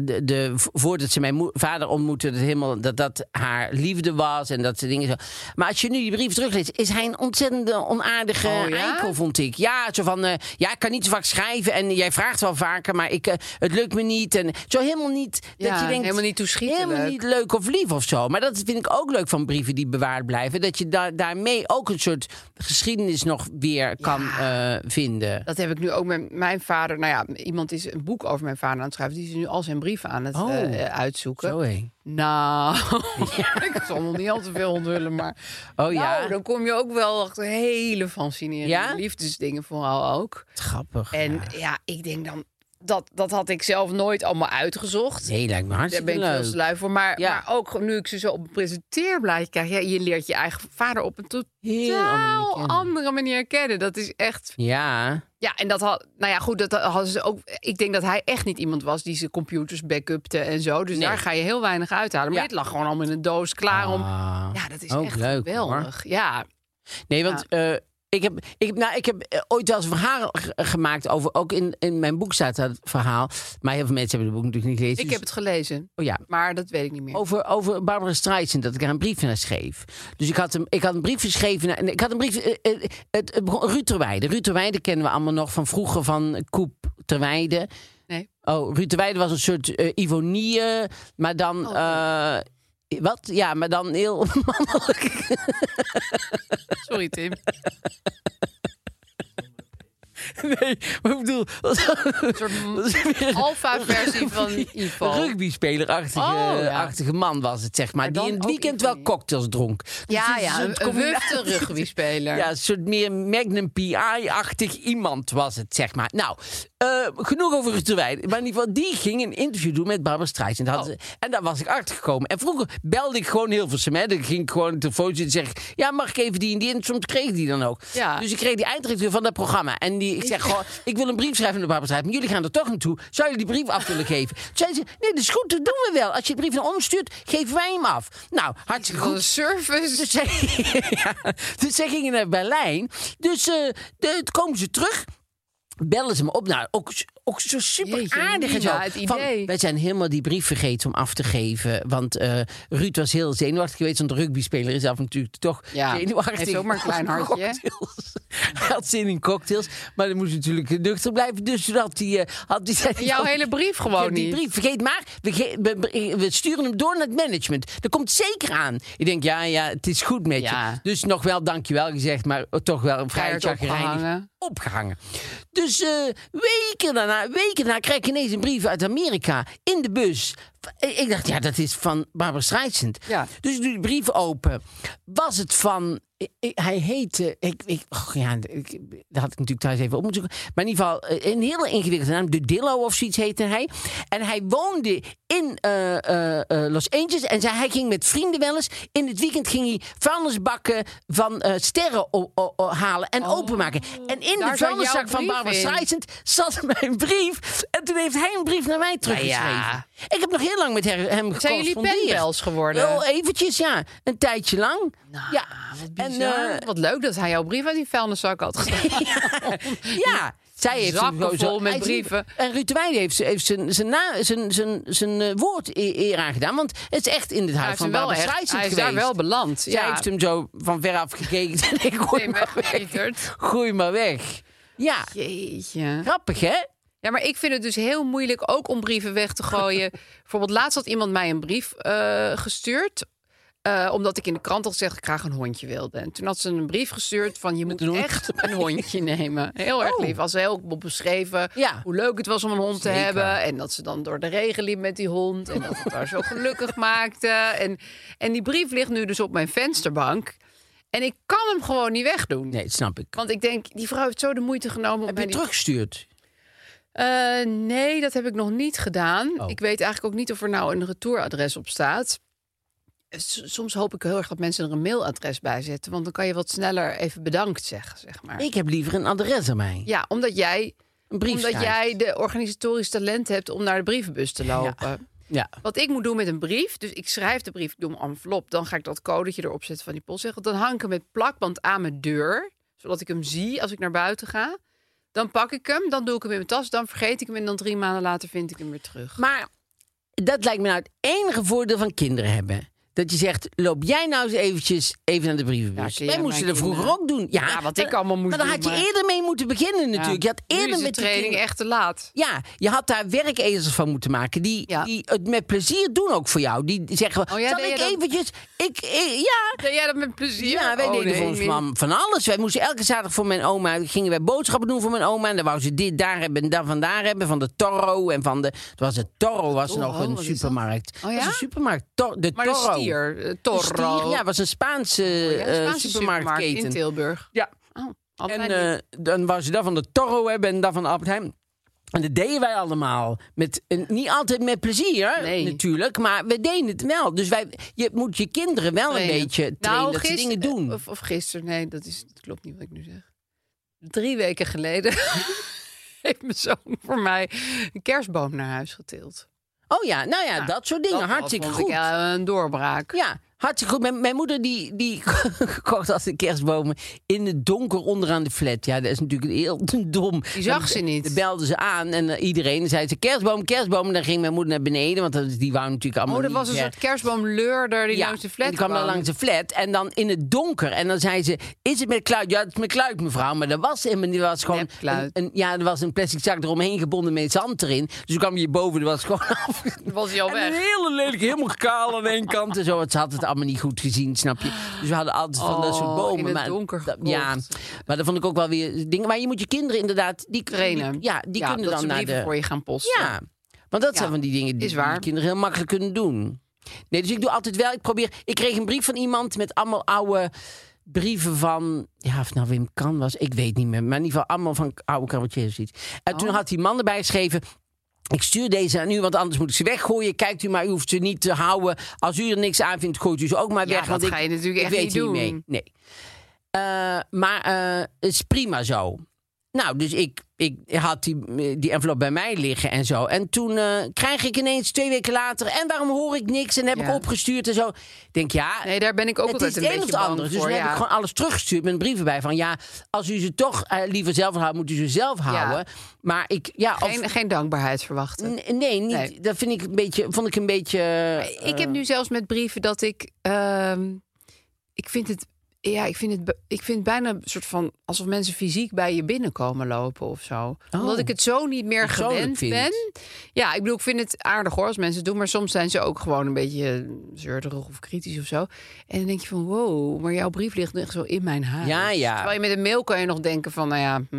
S3: De, de, voordat ze mijn moe- vader ontmoette, dat, helemaal, dat dat haar liefde was en dat soort dingen. Zo. Maar als je nu die brief terugleest, is hij een ontzettende onaardige
S4: Oh, ja?
S3: eikel, vond ik. Ja, zo van, eh, ja, ik kan niet zo vaak schrijven en jij vraagt wel vaker, maar ik, eh, het lukt me niet. En zo helemaal niet, dat
S4: Ja,
S3: je denkt,
S4: helemaal niet toeschietelijk.
S3: Helemaal niet leuk of lief of zo. Maar dat vind ik ook leuk van brieven die bewaard blijven. Dat je daar daarmee ook een soort geschiedenis nog weer kan eh, vinden.
S4: Dat heb ik nu ook met mijn vader. Nou ja, iemand is een boek over mijn vader aan het schrijven. Die is nu al zijn brieven aan het
S3: Oh.
S4: eh, eh, uitzoeken.
S3: Zo hé. [laughs]
S4: Nou, [laughs] ik zal nog niet al te veel onthullen, maar...
S3: Oh
S4: Nou,
S3: ja,
S4: dan kom je ook wel achter hele fascinerende
S3: Ja?
S4: liefdesdingen vooral ook.
S3: grappig.
S4: En ja. ik denk dan... Dat, dat had ik zelf nooit allemaal uitgezocht.
S3: Nee, lijkt me
S4: Daar
S3: hartstikke
S4: ben ik veel
S3: leuk.
S4: te lui voor. Maar,
S3: Ja.
S4: maar ook nu ik ze zo op een presenteerblaadje krijg... Ja, je leert je eigen vader op een
S3: Heel andere
S4: totaal
S3: kennen.
S4: andere manier kennen. Dat is echt...
S3: Ja,
S4: Ja, en dat had... Nou ja, goed, dat hadden ze ook... Ik denk dat hij echt niet iemand was die zijn computers backupte en zo. Dus
S3: Nee.
S4: daar ga je heel weinig uithalen. Maar
S3: Ja.
S4: dit lag gewoon allemaal in een doos klaar om...
S3: Ah,
S4: Ja, dat is
S3: ook
S4: echt
S3: leuk,
S4: geweldig. Ja,
S3: nee, want eh, ik heb, ik, heb- nou, ik heb eh, ooit wel eens een verhaal ge- gemaakt over. Ook in, in mijn boek staat dat verhaal. Maar heel veel mensen hebben het boek natuurlijk niet gelezen.
S4: ik
S3: dus-
S4: heb het gelezen.
S3: oh, ja.
S4: Maar dat weet ik niet meer.
S3: Over, over Barbara Streisand, dat ik haar een brief naar schreef. Dus ik had, hem, ik had een brief geschreven. naar- en ik had een brief. eh, eh, het, het begon- Ruud Terweijde. Ruud Terweijde kennen we allemaal nog van vroeger van Koep Terweijde.
S4: Nee.
S3: Oh, Ruud Terweijde was een soort eh, Ivonie, eh, maar dan.
S4: Oh.
S3: eh, wat? Ja, maar dan heel [laughs] mannelijk.
S4: Sorry, [laughs] Tim.
S3: Nee, maar ik bedoel. [laughs]
S4: Een soort [laughs] alfa-versie van Ivo.
S3: Een rugbyspeler-achtige
S4: Oh, ja.
S3: achtige man was het, zeg maar. die
S4: Maar dan
S3: in het
S4: ook
S3: weekend wel
S4: Ivonie.
S3: cocktails dronk. Dus
S4: Ja,
S3: het is
S4: ja,
S3: een
S4: een
S3: soort
S4: wufte
S3: combinatie.
S4: [laughs] rugbyspeler.
S3: Ja, een soort meer Magnum PI-achtig iemand was het, zeg maar. Nou, eh, genoeg over Ruud Terwijn. Maar in ieder geval, die ging een interview doen met Barbara Streisand. Dat hadden ze- En daar was ik achtergekomen. En vroeger belde ik gewoon heel veel hè. Dan ging ik gewoon een telefoon zitten en zeg... Ja, mag ik even die en die? En soms kreeg ik die dan ook.
S4: Ja.
S3: Dus ik kreeg die eindredacteur van dat programma. En die, ik zeg gewoon... Ik wil een brief schrijven naar Barbara Streisand. Maar jullie gaan er toch naartoe. Zou je die brief af willen geven? Toen zei ze... Nee, dat is goed, dat doen we wel. Als je de brief naar ons stuurt, geven wij hem af. Nou, hartstikke
S4: Van
S3: goed.
S4: de service.
S3: [laughs] Dus zij, ja, dus zij gingen naar Berlijn. Dus eh de, komen ze terug. Bellen ze me op. Nou, ook, ook zo super
S4: Jeetje,
S3: aardig en zo.
S4: Nina, het idee.
S3: Van, wij zijn helemaal die brief vergeten om af te geven. Want eh, Ruud was heel zenuwachtig geweest. Want de rugbyspeler is af en toe toch
S4: Ja,
S3: zenuwachtig.
S4: heeft ook maar een klein hartje, hè?
S3: Cocktails. Hij had zin in cocktails, maar dan moest hij natuurlijk nuchter blijven. Dus toen had hij... eh, had hij
S4: En jouw hele brief gewoon
S3: die
S4: niet.
S3: brief, vergeet maar, we, ge- we- we sturen hem door naar het management. Dat komt zeker aan. Ik denk, ja, ja, het is goed met je.
S4: Ja.
S3: Dus nog wel dankjewel gezegd, maar toch wel een vrij
S4: Keihard opgehangen.
S3: opgehangen. Dus eh, weken daarna, weken daarna krijg ik ineens een brief uit Amerika in de bus. Ik ik dacht, ja, dat is van Barbara Streisand.
S4: Ja.
S3: Dus ik doe de brief open. Was het van... i- i- Hij heette... Ik, ik, och ja, ik, dat had ik natuurlijk thuis even op moeten zoeken. Maar in ieder geval eh, een hele ingewikkelde naam. De Dillo of zoiets heette hij. En hij woonde in eh, eh, eh, Los Angeles. En zei, hij ging met vrienden wel eens. In het weekend ging hij vuilnisbakken van eh, sterren o- o- o- halen en openmaken. En in
S4: Oh. daar
S3: de
S4: zat
S3: vuilniszak
S4: jouw
S3: van
S4: brief
S3: Barbara
S4: in.
S3: Streisand zat [laughs] mijn brief. En toen heeft hij een brief naar mij teruggeschreven.
S4: Nou ja.
S3: Ik heb nog heel lang met her- hem
S4: Zijn jullie
S3: gecorrespondeerd.
S4: penpals geworden?
S3: Oh, eventjes, ja. Een tijdje lang. ja.
S4: Nou, Wat
S3: En,
S4: bizar.
S3: eh,
S4: Wat leuk dat hij jouw brief uit die vuilniszak had [laughs] gedaan.
S3: ja. Zij heeft
S4: Zakken
S3: hem gewoon zo-
S4: vol met
S3: Hij is-
S4: brieven.
S3: En Ruud de Weijden heeft, z- heeft zijn, zijn, na, zijn, zijn, zijn eh, woord e- eer aangedaan. Want het is echt in het
S4: Hij
S3: huis
S4: heeft
S3: van
S4: hem wel
S3: Barbara
S4: echt,
S3: Streisand
S4: hij is
S3: geweest.
S4: daar wel beland.
S3: Zij
S4: ja.
S3: heeft hem zo van veraf gekeken. [laughs] en ik gooi
S4: Nee, [laughs]
S3: maar
S4: maar
S3: weg.
S4: Richard.
S3: Gooi maar weg. Ja,
S4: Jeetje.
S3: grappig hè?
S4: Ja, maar ik vind het dus heel moeilijk ook om brieven weg te
S3: [laughs]
S4: gooien. Bijvoorbeeld laatst had iemand mij een brief eh, gestuurd. eh, omdat ik in de krant had gezegd dat ik graag een hondje wilde. En toen had ze een brief gestuurd van je moet
S3: een hond
S4: echt een
S3: [laughs]
S4: hondje nemen. Heel erg
S3: Oh.
S4: lief. Als ze heel goed beschreven
S3: Ja.
S4: hoe leuk het was om een hond te
S3: Zeker.
S4: hebben. En dat ze dan door de regen liep met die hond. En dat het haar zo
S3: [laughs]
S4: gelukkig maakte. En, en die brief ligt nu dus op mijn vensterbank. En ik kan hem gewoon niet wegdoen.
S3: Nee, dat snap ik.
S4: Want ik denk, die vrouw heeft zo de moeite genomen om
S3: Heb
S4: mij
S3: je
S4: die
S3: teruggestuurd?
S4: eh, nee, dat heb ik nog niet gedaan.
S3: Oh.
S4: Ik weet eigenlijk ook niet of er nou een retouradres op staat. S- Soms hoop ik heel erg dat mensen er een mailadres bij zetten. Want dan kan je wat sneller even bedankt zeggen, zeg maar.
S3: Ik heb liever een adres aan mij.
S4: Ja, omdat jij,
S3: Een brief
S4: omdat
S3: schrijft.
S4: jij de organisatorische talent hebt om naar de brievenbus te lopen.
S3: Ja.
S4: Wat ik moet doen met een brief, dus ik schrijf de brief, ik doe een envelop. Dan ga ik dat codetje erop zetten van die postzegel. Dan hang ik hem met plakband aan mijn deur, zodat ik hem zie als ik naar buiten ga. Dan pak ik hem, dan doe ik hem in mijn tas, dan vergeet ik hem en dan drie maanden later vind ik hem weer terug.
S3: Maar dat lijkt me nou het enige voordeel van kinderen hebben. Dat je zegt, loop jij nou eens eventjes even naar de brievenbus.
S4: Ja, ken jij
S3: Wij moesten
S4: mijn
S3: dat vroeger
S4: kinderen?
S3: ook doen. Ja,
S4: Ja, wat
S3: maar-
S4: ik allemaal moest
S3: Maar daar had
S4: doen,
S3: je
S4: maar-
S3: eerder mee moeten beginnen natuurlijk. Je had
S4: Nu
S3: eerder
S4: is de
S3: met die
S4: training
S3: kinderen-
S4: echt te laat.
S3: Ja, je had daar werkezels van moeten maken. Die,
S4: Ja.
S3: die het met plezier doen ook voor jou. Die zeggen,
S4: Oh ja,
S3: zal
S4: deed
S3: ik
S4: je dat?
S3: eventjes... Ik, eh, ja,
S4: Deed jij dat met plezier?
S3: ja, wij
S4: Oh,
S3: deden
S4: nee,
S3: voor ons
S4: nee.
S3: mam van alles. Wij moesten elke zaterdag voor mijn oma... gingen wij boodschappen doen voor mijn oma. En dan wou ze dit daar hebben en dat vandaar hebben. Van de Toro en van de... Het was de Toro was
S4: Toro,
S3: nog een
S4: wat is dat?
S3: supermarkt.
S4: Oh ja?
S3: Dat is een supermarkt. Tor- de
S4: Maar de
S3: Toro.
S4: stier, eh,
S3: De
S4: Torro. Oh,
S3: stier, ja, was een Spaanse,
S4: Ja, de
S3: eh,
S4: Spaanse supermarkt in
S3: supermarktketen.
S4: Tilburg.
S3: Ja.
S4: Oh, hadden
S3: En
S4: wij niet.
S3: eh, dan wou ze dat van de Toro hebben en dat van de Albert Heijn. En dat deden wij allemaal. Met, en niet altijd met plezier,
S4: Nee.
S3: natuurlijk. Maar we deden het wel. Dus wij, je moet je kinderen wel een
S4: trainen. Nou, eh,
S3: beetje trainen dat ze
S4: gister-
S3: dingen doen.
S4: Of, of gisteren, nee, dat, is, dat klopt niet wat ik nu zeg. Drie weken geleden [laughs] heeft mijn zoon voor mij een kerstboom naar huis getild.
S3: oh ja, nou ja, dat soort dingen.
S4: Dat
S3: hartstikke
S4: vond
S3: goed.
S4: Ik, eh, een doorbraak.
S3: Ja, hartstikke goed. Mijn, mijn moeder die, die [laughs] kocht altijd kerstbomen in het donker onderaan de flat. Ja, dat is natuurlijk heel [laughs] dom.
S4: Die zag ze niet.
S3: Dan belden ze aan en eh, iedereen zei ze kerstboom, kerstboom. En dan ging mijn moeder naar beneden, want dat- die wou natuurlijk allemaal
S4: Oh, er
S3: niet
S4: was een
S3: ver.
S4: soort kerstboomleurder die
S3: Ja,
S4: langs de flat
S3: en die kwam dan langs de flat en dan in het donker. En dan zei ze, is het met kluit? Ja, het is met kluit, mevrouw. Maar dat was helemaal niet. Er was gewoon een,
S4: Nepkluit.
S3: een- ja, er was een plastic zak eromheen gebonden met zand erin. Dus toen kwam je boven, er was gewoon [laughs] af.
S4: Was hij al
S3: en
S4: weg.
S3: een hele lelijke, helemaal kaal aan één kant en zo. Want ze had het allemaal niet goed gezien, snap je? Dus we hadden altijd van dat soort
S4: Oh,
S3: bomen.
S4: in het
S3: maar,
S4: donker
S3: dat- ja, maar dat vond ik ook wel weer dingen. Maar je moet je kinderen inderdaad... Die,
S4: trainen.
S3: die- ja, die kunnen
S4: dat
S3: dan
S4: ze
S3: naar
S4: brieven
S3: de...
S4: voor je gaan posten.
S3: Ja, want dat
S4: Ja,
S3: zijn van die dingen die,
S4: is waar.
S3: die kinderen heel makkelijk kunnen doen. Nee, dus ik doe altijd wel. Ik probeer. Ik kreeg een brief van iemand met allemaal oude brieven van. Ja, of het nou Wim Kan was. Ik weet niet meer. Maar in ieder geval allemaal van oude cabaretiers of iets. En toen
S4: Oh.
S3: had die man erbij geschreven. Ik stuur deze aan u, want anders moet ik ze weggooien. Kijkt u maar, u hoeft ze niet te houden. Als u er niks aan vindt, gooit u ze ook maar
S4: Ja,
S3: weg.
S4: dat
S3: want ik-
S4: ga je natuurlijk
S3: ik
S4: echt
S3: weet
S4: niet
S3: hier
S4: doen.
S3: mee. Nee. Eh, maar eh, het is prima zo. Nou, dus ik, ik had die, die envelop bij mij liggen en zo. En toen eh, krijg ik ineens twee weken later... en waarom hoor ik niks en heb
S4: Ja.
S3: ik opgestuurd en zo. Ik denk, ja,
S4: Nee, daar ben ik ook
S3: het is
S4: altijd
S3: het
S4: een
S3: een of
S4: beetje
S3: het
S4: bang
S3: andere. Dus
S4: voor.
S3: toen heb
S4: ja.
S3: ik gewoon alles teruggestuurd met een brief erbij. Van ja, als u ze toch eh, liever zelf houdt, moet u ze zelf houden. Maar ik, ja... of-
S4: geen, geen dankbaarheid verwachten.
S3: N- nee, niet,
S4: Nee.
S3: dat vind ik een beetje, vond ik een beetje...
S4: Ik heb nu zelfs met brieven dat ik. ehm, ik vind het Ja, ik vind, het, be- ik vind het bijna een soort van alsof mensen fysiek bij je binnenkomen lopen of zo. Omdat ik het zo niet meer
S3: Oh. Persoonlijk
S4: gewend
S3: vindt.
S4: ben. Ja, ik bedoel, ik vind het aardig hoor als mensen het doen. Maar soms zijn ze ook gewoon een beetje zeurderig of kritisch of zo. En dan denk je van, wow, maar jouw brief ligt echt zo in mijn haar.
S3: Ja, ja.
S4: Terwijl je met een mail kan je nog denken van, nou ja... Hm,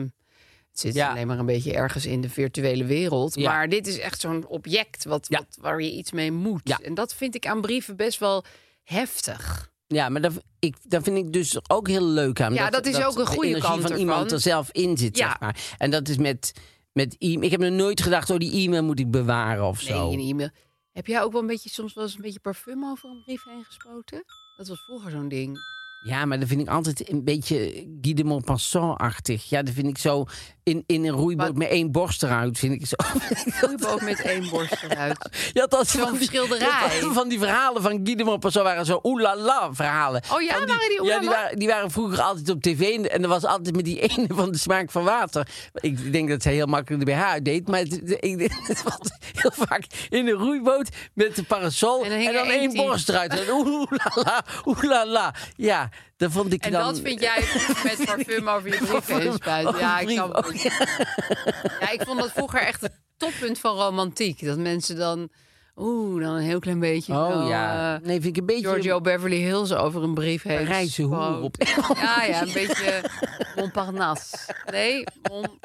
S4: het zit
S3: Ja.
S4: alleen maar een beetje ergens in de virtuele wereld.
S3: Ja.
S4: Maar dit is echt zo'n object wat,
S3: Ja.
S4: wat, waar je iets mee moet.
S3: Ja.
S4: En dat vind ik aan brieven best wel heftig.
S3: Ja, maar dat, ik, dat vind ik dus ook heel leuk aan.
S4: Ja, dat is ook een
S3: de
S4: goede
S3: energie
S4: kant
S3: van
S4: ervan.
S3: iemand er zelf in zit,
S4: Ja.
S3: zeg maar. En dat is met, met e Ik heb nog nooit gedacht, oh, die e-mail moet ik bewaren of zo.
S4: Nee, een e-mail. Heb jij ook wel een beetje, soms wel eens een beetje parfum over een brief heen gespoten? Dat was vroeger zo'n ding.
S3: Ja, maar dat vind ik altijd een beetje Guy de Maupassant-achtig. Ja, dat vind ik zo in, in een roeiboot
S4: Wat?
S3: met één borst eruit, vind ik zo. [laughs]
S4: Roeiboot met één borst eruit.
S3: Je had altijd
S4: Zo'n
S3: van die-
S4: schilderij.
S3: je had altijd [laughs] Van die verhalen van Guy de Maupassant waren zo oelala verhalen.
S4: Oh ja,
S3: Van
S4: waren die
S3: Ja, die
S4: oelala?
S3: waren, die waren vroeger altijd op tv en, en er was altijd met die [laughs] ene van de smaak van water. Ik denk dat zij heel makkelijk de BH uitdeed, maar het, de- ik, denk- [laughs] het was heel vaak in een roeiboot met een parasol en,
S4: En dan hing
S3: dan
S4: er
S3: één
S4: eentje.
S3: borst eruit. En oelala, oelala. Ja, dat vond ik
S4: En
S3: dan...
S4: dat vind jij
S3: [laughs]
S4: met parfum over je brief heen spuiten. Ja, ik kan
S3: Over brief-
S4: Ja, ik vond dat vroeger echt het toppunt van romantiek. Dat mensen dan, oeh, dan een heel klein beetje.
S3: Oh
S4: zo,
S3: ja,
S4: eh,
S3: nee, vind ik een beetje...
S4: Giorgio Beverly Hills over een brief heen.
S3: Parijse hoer
S4: gespoten.
S3: op.
S4: Ja, ja, een beetje Montparnasse. Nee, Mon...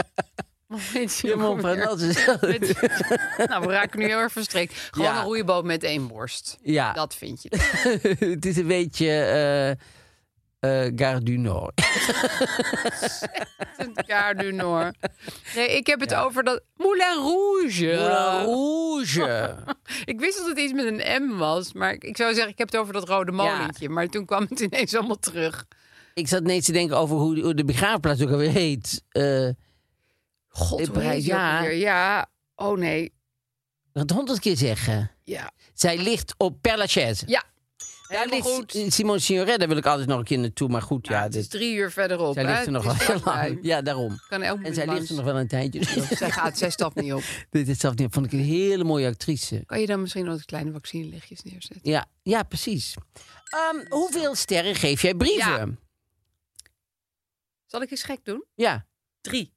S4: Weet je
S3: Ja,
S4: ook
S3: maar
S4: alweer?
S3: dat is- [laughs]
S4: Met- nou, we raken nu heel erg verstrikt. Gewoon
S3: Ja.
S4: een roeiboot met één borst.
S3: Ja.
S4: Dat vind je.
S3: [laughs] het is een beetje eh eh, Gare du Nord.
S4: Ja, nu hoor. Nee, ik heb het over dat Moulin Rouge.
S3: Moulin Rouge.
S4: Ik wist dat het iets met een M was, maar ik- ik zou zeggen, ik heb het over dat rode molentje. Maar toen kwam het ineens allemaal terug.
S3: Ik zat ineens te denken over hoe, hoe de begraafplaats ook alweer heet. Eh
S4: God,
S3: In
S4: hoe heet die ook
S3: Parijs, ja.
S4: alweer? ja. Oh nee,
S3: dat honderd keer zeggen.
S4: ja.
S3: Zij ligt op Père Lachaise.
S4: Ja,
S3: Daar
S4: helemaal
S3: ligt
S4: goed.
S3: S- Simone Signoret, daar wil ik altijd nog een keer naartoe. Maar goed, ja,
S4: Ja, het is
S3: dit,
S4: drie uur verderop.
S3: zij
S4: hè.
S3: ligt er nog
S4: Het is
S3: wel heel
S4: vlakbij.
S3: lang. Ja, daarom.
S4: Kan elk
S3: En
S4: moment
S3: zij ligt
S4: langs.
S3: er nog wel een tijdje. Dus
S4: Zij gaat, zij stapt niet op.
S3: [laughs] Dit is zelf niet. Vond ik een hele mooie actrice.
S4: Kan je dan misschien wat kleine vaccinelichtjes neerzetten?
S3: Ja, ja precies. Ehm, hoeveel sterren geef jij brieven?
S4: Zal ik eens gek doen?
S3: ja.
S4: Drie.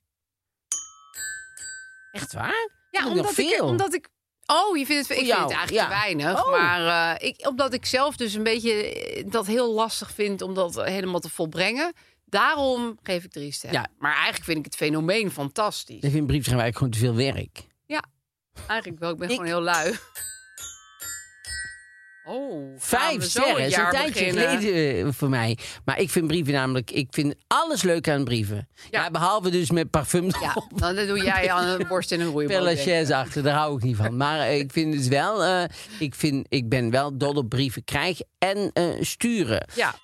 S3: Echt waar?
S4: Ja,
S3: Vind ik nog
S4: omdat ik,
S3: veel.
S4: omdat ik. Oh, je vindt het, ik
S3: jou,
S4: vind het eigenlijk
S3: ja.
S4: te weinig.
S3: Oh.
S4: Maar eh, ik, omdat ik zelf dus een beetje eh, dat heel lastig vind om dat eh, helemaal te volbrengen. Daarom geef ik drie sterren.
S3: Ja.
S4: Maar eigenlijk vind ik het fenomeen fantastisch.
S3: Ik vind briefschrijven eigenlijk gewoon te veel werk.
S4: Ja, eigenlijk wel. Ik ben
S3: Ik-
S4: gewoon heel
S3: [laughs]
S4: lui. Oh, gaan
S3: Vijf
S4: we zo
S3: sterren
S4: het
S3: is een
S4: jaar
S3: tijdje
S4: beginnen?
S3: geleden eh, voor mij. Maar ik vind brieven namelijk... Ik vind alles leuk aan brieven. Ja,
S4: Ja.
S3: behalve dus met parfum
S4: Ja,
S3: erop.
S4: dan doe jij aan een borst in een roeiboot.
S3: Père
S4: denk ik.
S3: Lachaise achter, daar hou ik niet van. Maar eh, ik vind het wel... eh, ik, vind, ik ben wel dol op brieven krijgen en eh, sturen.
S4: Ja.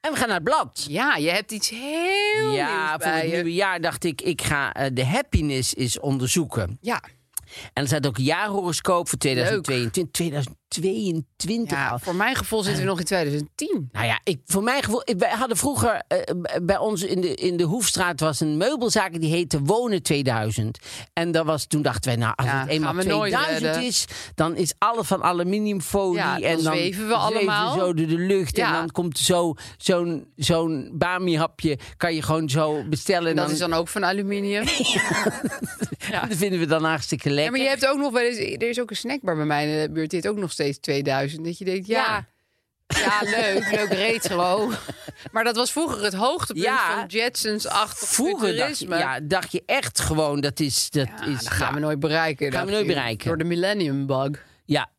S3: En we gaan naar het blad.
S4: ja, je hebt iets heel
S3: Ja,
S4: nieuws
S3: voor
S4: bij
S3: het
S4: je.
S3: nieuwe jaar dacht ik... Ik ga eh, de happiness eens onderzoeken.
S4: Ja,
S3: En er staat ook een jaarhoroscoop voor 2022. 2022
S4: ja,
S3: al.
S4: voor mijn gevoel zitten we nog in 2010.
S3: Nou ja, ik, voor mijn gevoel, ik- wij hadden vroeger eh, b- bij ons in de, in de Hoefstraat was een meubelzaak die heette Wonen 2000. En dat was, toen dachten wij, nou, als
S4: Ja,
S3: het eenmaal
S4: gaan we nooit
S3: 2000
S4: redden.
S3: is, dan is alles van aluminiumfolie.
S4: Ja, dan
S3: en dan
S4: zweven we allemaal.
S3: zo door de lucht. En
S4: Ja.
S3: dan komt zo, zo'n, zo'n bami-hapje, kan je gewoon zo bestellen. En
S4: dat
S3: dan,
S4: is dan ook van aluminium. ja.
S3: dat vinden we [laughs] dan hartstikke lekker.
S4: Ja, maar je hebt ook nog wel eens, er is ook een snackbar bij mij in de buurt, die heeft ook nog steeds 2000. Dat je denkt, ja, ja, leuk, leuk retro.
S3: [laughs]
S4: Maar dat was vroeger het hoogtepunt
S3: Ja.
S4: van Jetsons achter
S3: Vroeger dacht, je-
S4: futurisme.
S3: ja, dacht je echt gewoon, dat is... Ah, Dat is
S4: dat gaan
S3: ja.
S4: we nooit bereiken.
S3: Gaan we
S4: dacht
S3: nooit
S4: ik,
S3: bereiken.
S4: Door de millennium bug.
S3: Ja.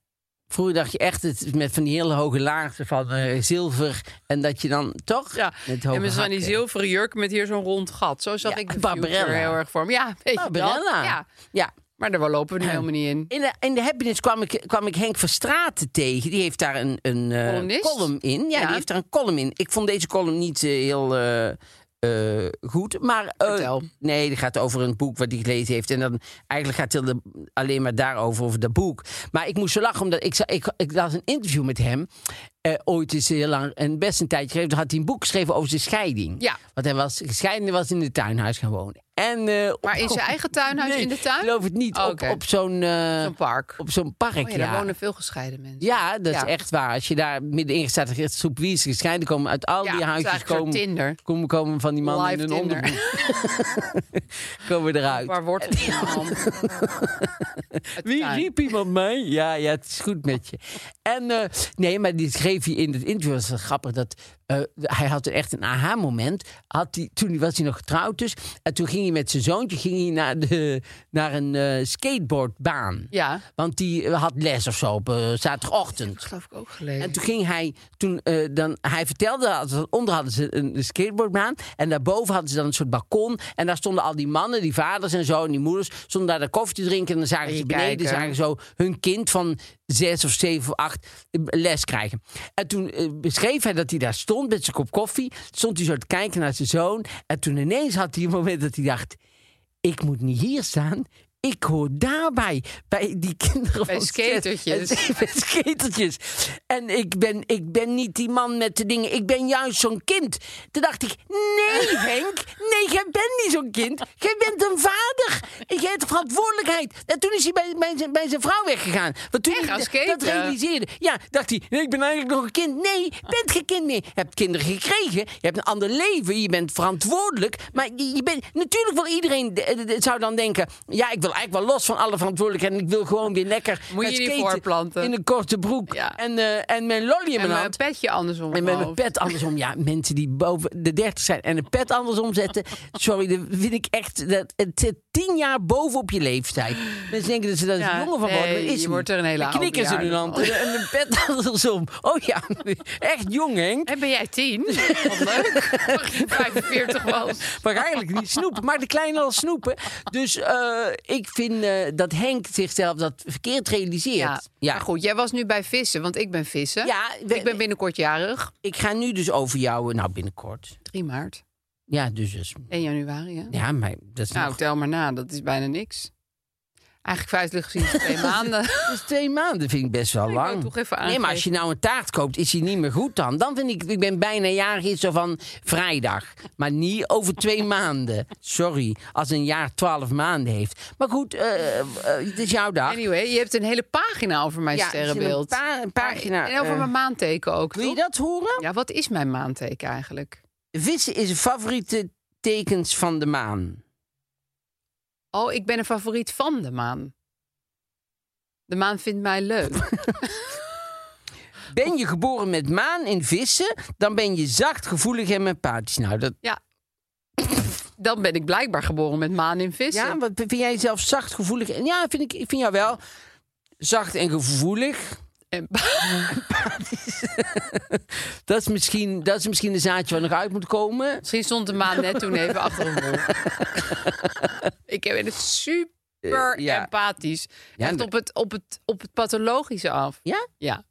S3: Vroeger dacht je echt het, met van die hele hoge laarzen van eh, zilver. En dat je dan toch
S4: Ja.
S3: met hoge
S4: En met zo'n die
S3: hakken.
S4: zilveren jurk met hier zo'n rond gat. Zo zag
S3: Ja,
S4: ik de
S3: Barbarella.
S4: future heel erg voor me. Ja, weet je
S3: Barbarella.
S4: dat? Ja.
S3: Nou, Ja.
S4: Maar daar lopen we nu helemaal niet in.
S3: In de, in de Happiness kwam ik, kwam ik Henk Verstraeten tegen. Die heeft daar een, een eh,
S4: Columnist?
S3: column in. Ja,
S4: Ja.
S3: die heeft daar een column in. Ik vond deze column niet eh, heel eh, eh, goed. Maar, eh,
S4: Vertel.
S3: Nee, die gaat over een boek wat hij gelezen heeft. En dan eigenlijk gaat het heel de- alleen maar daarover, over dat boek. Maar ik moest zo lachen, omdat ik, za- ik, ik las een interview met hem. Eh, ooit is hij heel lang, en best een tijdje geleden, toen had hij een boek geschreven over zijn scheiding.
S4: Ja.
S3: Want hij was gescheiden en was in het tuinhuis gaan wonen. En, eh,
S4: Maar in zijn eigen tuinhuis
S3: Nee,
S4: in de tuin?
S3: geloof het niet.
S4: Oh,
S3: Op-
S4: oké.
S3: Op, zo'n eh,
S4: Zo'n park.
S3: Op zo'n park,
S4: Oh ja,
S3: ja.
S4: daar wonen veel gescheiden mensen.
S3: Ja, dat
S4: Ja.
S3: is echt waar. Als je daar middenin staat, dan is soep wie is gescheiden komen uit al
S4: Ja,
S3: die
S4: het is
S3: huisjes
S4: eigenlijk
S3: komen,
S4: een soort Tinder.
S3: komen, komen van die mannen
S4: Live
S3: in hun
S4: Tinder.
S3: onderbroek. komen eruit.
S4: [laughs] Waar wordt het in de hand?
S3: [laughs] Wie
S4: tuin.
S3: riep iemand mij? Ja, ja, het is goed met je. En eh, nee, maar die schreef hij in het interview. Dat is wel grappig. Dat, eh, hij had echt een aha-moment. Had hij, toen was hij nog getrouwd dus. En toen ging hij met zijn zoontje ging hij naar, de, naar een eh, skateboardbaan.
S4: Ja.
S3: Want die had les of zo op eh, zaterdagochtend.
S4: Dat heb ik ook gelezen.
S3: En toen ging hij, toen eh, dan, hij vertelde, dat ze- onder hadden ze een skateboardbaan. En daarboven hadden ze dan een soort balkon. En daar stonden al die mannen, die vaders en zo, en die moeders, stonden daar de koffie te drinken. En dan zagen
S4: je
S3: ze beneden,
S4: kijken.
S3: zagen zo hun kind van zes of zeven of acht eh, les krijgen. En toen eh, beschreef hij dat hij daar stond met zijn kop koffie. Stond hij zo te kijken naar zijn zoon. En toen ineens had hij een moment dat hij dacht, ik moet niet hier staan. Ik hoor daarbij, bij die kinderen
S4: Bij
S3: van zes en
S4: skatertjes.
S3: [laughs] met sketeltjes. En ik ben, ik ben niet die man met de dingen. Ik ben juist zo'n kind. Toen dacht ik, nee Henk. Nee, jij bent niet zo'n kind. Jij bent een vader. En jij hebt verantwoordelijkheid. En toen is hij bij, bij, zijn, bij zijn vrouw weggegaan. Want toen
S4: En
S3: hij
S4: gaan
S3: dat- dat
S4: skaten.
S3: realiseerde. Ja, dacht hij, nee, ik ben eigenlijk nog een kind. Nee, je bent geen kind meer. Je hebt kinderen gekregen. Je hebt een ander leven. Je bent verantwoordelijk. Maar je, je bent... Natuurlijk wil iedereen... de- de- de- zou dan denken... Ja, ik wil eigenlijk wel los van alle verantwoordelijkheid. En ik wil gewoon weer lekker...
S4: Moet je
S3: met
S4: die
S3: skaten
S4: voorplanten.
S3: In een korte broek.
S4: Ja.
S3: En, eh, en mijn lolly in
S4: en
S3: mijn
S4: mijn
S3: hand.
S4: petje andersom.
S3: En met
S4: op
S3: mijn
S4: mijn
S3: pet andersom. Ja, mensen die boven de 30 zijn en een pet andersom zetten. Sorry, dat vind ik echt. Dat, het zit tien jaar bovenop je leeftijd. Mensen denken dat ze daar
S4: Ja,
S3: jonger van worden. maar
S4: nee,
S3: is
S4: je
S3: niet.
S4: wordt er een hele
S3: Dan knikken ze
S4: oude
S3: hun hand.
S4: bejaarde
S3: En een pet [laughs] andersom. Oh ja, [laughs] echt jong, Henk.
S4: En ben jij tien? [laughs] Wat leuk.
S3: [laughs]
S4: Mag je 45 was.
S3: Maar eigenlijk niet snoepen, maar de kleine al snoepen. Dus eh, ik vind eh, dat Henk zichzelf dat verkeerd realiseert.
S4: Ja. Maar goed, jij was nu bij vissen, want ik ben vissen.
S3: Ja, we-
S4: ik ben binnenkort jarig.
S3: Ik ga nu dus over jou, nou binnenkort.
S4: 3 maart.
S3: Ja, dus. dus
S4: 1 januari, hè?
S3: ja, maar dat is
S4: Nou,
S3: nog-
S4: tel maar na. Dat is bijna niks. Eigenlijk feitelijk gezien is het
S3: [laughs]
S4: twee maanden.
S3: Dat is twee maanden, vind ik best wel
S4: Ik wou
S3: lang.
S4: het toch even
S3: nee, maar als je nou een taart koopt, is die niet meer goed dan. Dan vind ik, ik ben bijna jarig is zo van vrijdag. Maar niet over
S4: [laughs]
S3: twee maanden. Sorry, als een jaar twaalf maanden heeft. Maar goed, eh, eh, het is jouw dag.
S4: Anyway, je hebt een hele pagina over mijn
S3: Ja, er zit een
S4: sterrenbeeld.
S3: pa- een pagina,
S4: En over
S3: eh,
S4: mijn maanteken ook.
S3: Wil je
S4: toch?
S3: dat horen?
S4: Ja, wat is mijn maanteken eigenlijk?
S3: Vissen is een favoriete tekens van de maan.
S4: Oh, ik ben een favoriet van de maan. De maan vindt mij leuk.
S3: [laughs] Ben je geboren met maan in vissen, dan ben je zacht, gevoelig en empathisch. Nou, dat,
S4: ja. Dan ben ik blijkbaar geboren met maan in vissen.
S3: ja, wat vind jij zelf zacht, gevoelig? en- Ja, vind ik, ik vind jou wel zacht en gevoelig.
S4: En-
S3: Dat is misschien, dat is misschien een zaadje wat nog uit moet komen.
S4: Misschien stond de maan net toen even achter een
S3: [laughs]
S4: wolk. ik ben het super
S3: Eh, ja.
S4: empathisch.
S3: Ja,
S4: Echt
S3: en-
S4: op het, op, het, op het pathologische af.
S3: Ja?
S4: Ja.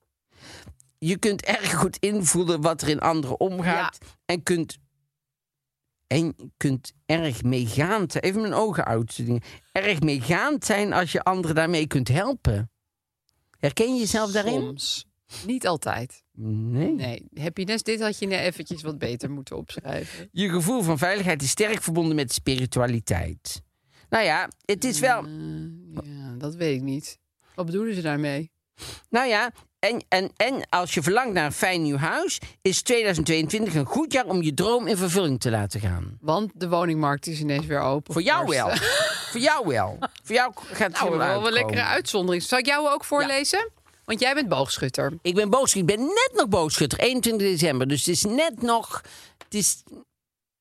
S3: Je kunt erg goed invoelen wat er in anderen omgaat. En kunt. En kunt erg meegaand zijn. Even mijn ogen uit. dingen. Erg meegaand zijn als je anderen daarmee kunt helpen. Herken je jezelf daarin?
S4: Soms. Niet altijd.
S3: Nee.
S4: Nee, happiness, dit had je net eventjes wat beter moeten
S3: [laughs]
S4: opschrijven.
S3: Je gevoel van veiligheid is sterk verbonden met spiritualiteit. Nou ja, het is wel.
S4: Ja, dat weet ik niet. Wat bedoelen ze daarmee?
S3: Nou ja, en, en, en als je verlangt naar een fijn nieuw huis, is 2022 een goed jaar om je droom in vervulling te laten gaan.
S4: Want de woningmarkt is ineens weer open.
S3: Voor jou
S4: Of- [laughs]
S3: wel. Voor jou wel. Voor jou gaat het
S4: Nou,
S3: helemaal
S4: wel een
S3: uitkomen.
S4: lekkere uitzondering. Zal ik jou ook voorlezen? Want jij bent boogschutter.
S3: Ik ben boogschutter. Ik ben net nog boogschutter. 21 december. Dus het is net nog... Het is...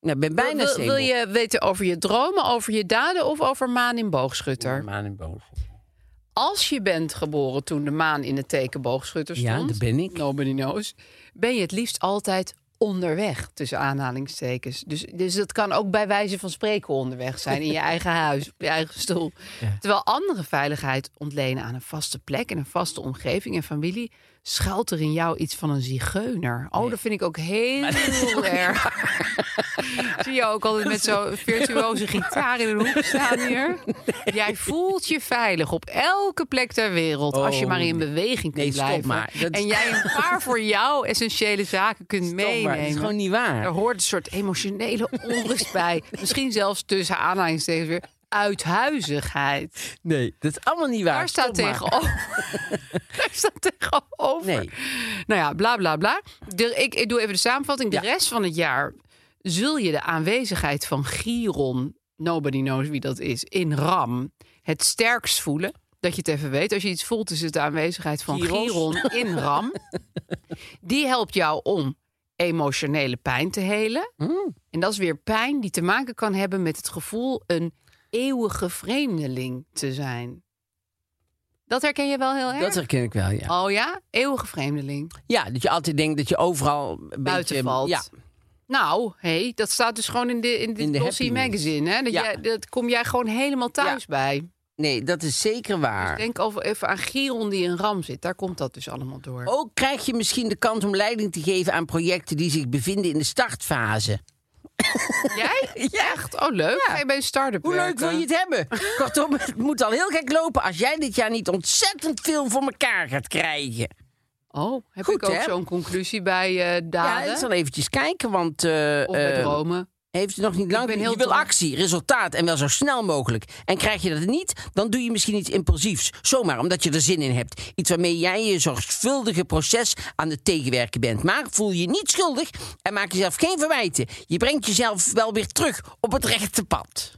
S3: Nou, ik ben bijna
S4: wil, wil, wil
S3: zenuw.
S4: je weten over je dromen, over je daden of over maan in boogschutter?
S3: Maan in boog.
S4: Als je bent geboren toen de maan in het teken boogschutter
S3: Ja,
S4: stond... Nou,
S3: dat ben ik.
S4: Nobody knows. Ben je het liefst altijd onderweg, tussen aanhalingstekens. Dus, dus dat kan ook bij wijze van spreken onderweg
S3: [laughs]
S4: zijn... in je eigen huis, op je eigen stoel. Terwijl andere veiligheid ontlenen aan een vaste plek... en een vaste omgeving en familie... schuilt er in jou iets van een zigeuner. Oh, dat vind ik ook heel erg. [laughs] Zie je ook altijd met zo'n virtuoze gitaar in een hoek staan hier. Jij voelt je veilig op elke plek ter wereld. als je maar in beweging kunt
S3: Oh, Nee, stop
S4: blijven.
S3: maar. Dat-
S4: En jij een paar voor jou essentiële zaken kunt
S3: maar.
S4: meenemen.
S3: Het is
S4: nemen.
S3: gewoon niet waar.
S4: Er hoort een soort emotionele onrust bij. Misschien zelfs tussen aanhalingstekens weer uithuizigheid.
S3: Nee, dat is allemaal niet waar.
S4: Daar staat
S3: Stop maar.
S4: tegenover.
S3: [laughs]
S4: Daar staat tegenover.
S3: Nee.
S4: Nou ja, bla bla bla. De, ik, ik doe even de samenvatting. De rest van het jaar zul je de aanwezigheid van Giron, nobody knows wie dat is, in RAM het sterkst voelen. Dat je het even weet. Als je iets voelt, is het de aanwezigheid van
S3: Gyros.
S4: Giron
S3: [laughs]
S4: in RAM. Die helpt jou om emotionele pijn te helen. En dat is weer pijn die te maken kan hebben met het gevoel een eeuwige vreemdeling te zijn. Dat herken je wel heel erg?
S3: Dat herken ik wel, ja.
S4: Oh ja, eeuwige vreemdeling.
S3: Ja, dat je altijd denkt dat je overal een
S4: Buiten
S3: beetje,
S4: valt.
S3: Ja,
S4: Nou, hey, dat staat dus gewoon in de, in de,
S3: In de
S4: Glossy
S3: Happy
S4: Magazine. Hè? Dat,
S3: Ja.
S4: jij, dat kom jij gewoon helemaal thuis
S3: Ja.
S4: bij.
S3: nee, dat is zeker
S4: Dus
S3: waar.
S4: denk over, even aan Giron die in Ram zit. Daar komt dat dus allemaal door.
S3: Ook krijg je misschien de kans om leiding te geven aan projecten die zich bevinden in de startfase.
S4: [laughs] Jij?
S3: [laughs]
S4: Echt? Oh, leuk. Ga je bij een start-up
S3: Hoe leuk
S4: werken?
S3: wil je het hebben?
S4: [laughs]
S3: Kortom, het moet al heel gek lopen als jij dit jaar niet ontzettend veel voor elkaar gaat krijgen.
S4: Oh, heb
S3: Goed,
S4: ik ook
S3: hè?
S4: zo'n conclusie bij eh
S3: Ja,
S4: daden
S3: ik zal eventjes kijken, want eh,
S4: of bij
S3: eh,
S4: dromen?
S3: heeft het nog niet lang.
S4: ben
S3: Je
S4: heel
S3: wil
S4: dom.
S3: actie, resultaat en wel zo snel mogelijk. En krijg je dat niet, dan doe je misschien iets impulsiefs. Zomaar omdat je er zin in hebt. Iets waarmee jij je zorgvuldige proces aan het tegenwerken bent. Maar voel je niet schuldig en maak jezelf geen verwijten. Je brengt jezelf wel weer terug op het rechte pad.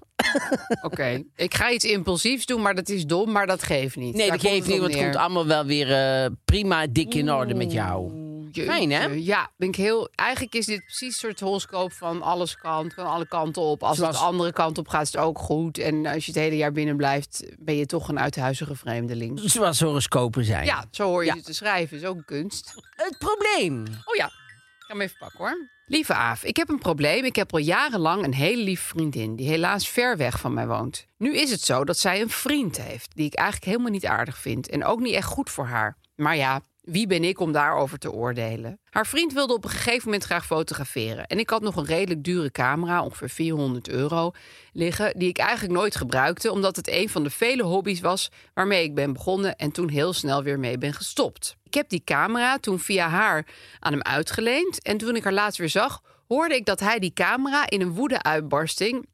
S4: Oké, ik ga iets impulsiefs doen, maar dat is dom, maar dat geeft niet.
S3: Nee,
S4: Daar
S3: dat geeft
S4: komt
S3: niet, want het
S4: het
S3: komt
S4: op
S3: allemaal wel weer eh, prima dik in orde met jou.
S4: neer.
S3: Fijn, hè?
S4: Jeetje, Ja, ben ik heel... Eigenlijk is dit precies een soort horoscoop van alles kan, het kan alle kanten op. Als het
S3: Zoals-
S4: de andere kant op gaat, is het ook goed. En als je het hele jaar binnen blijft, ben je toch een uithuizige vreemdeling.
S3: Zoals horoscopen zijn.
S4: Ja, zo hoor je ze te schrijven, is ook een kunst.
S3: Het probleem.
S4: Oh ja, ik ga hem even pakken hoor. Lieve Aaf, ik heb een probleem. Ik heb al jarenlang een hele lieve vriendin die helaas ver weg van mij woont. Nu is het zo dat zij een vriend heeft die ik eigenlijk helemaal niet aardig vind en ook niet echt goed voor haar. Maar ja, wie ben ik om daarover te oordelen? Haar vriend wilde op een gegeven moment graag fotograferen en ik had nog een redelijk dure camera, ongeveer 400 euro, liggen die ik eigenlijk nooit gebruikte omdat het een van de vele hobby's was waarmee ik ben begonnen en toen heel snel weer mee ben gestopt. Ik heb die camera toen via haar aan hem uitgeleend. En toen ik haar laatst weer zag, hoorde ik dat hij die camera in een woede-uitbarsting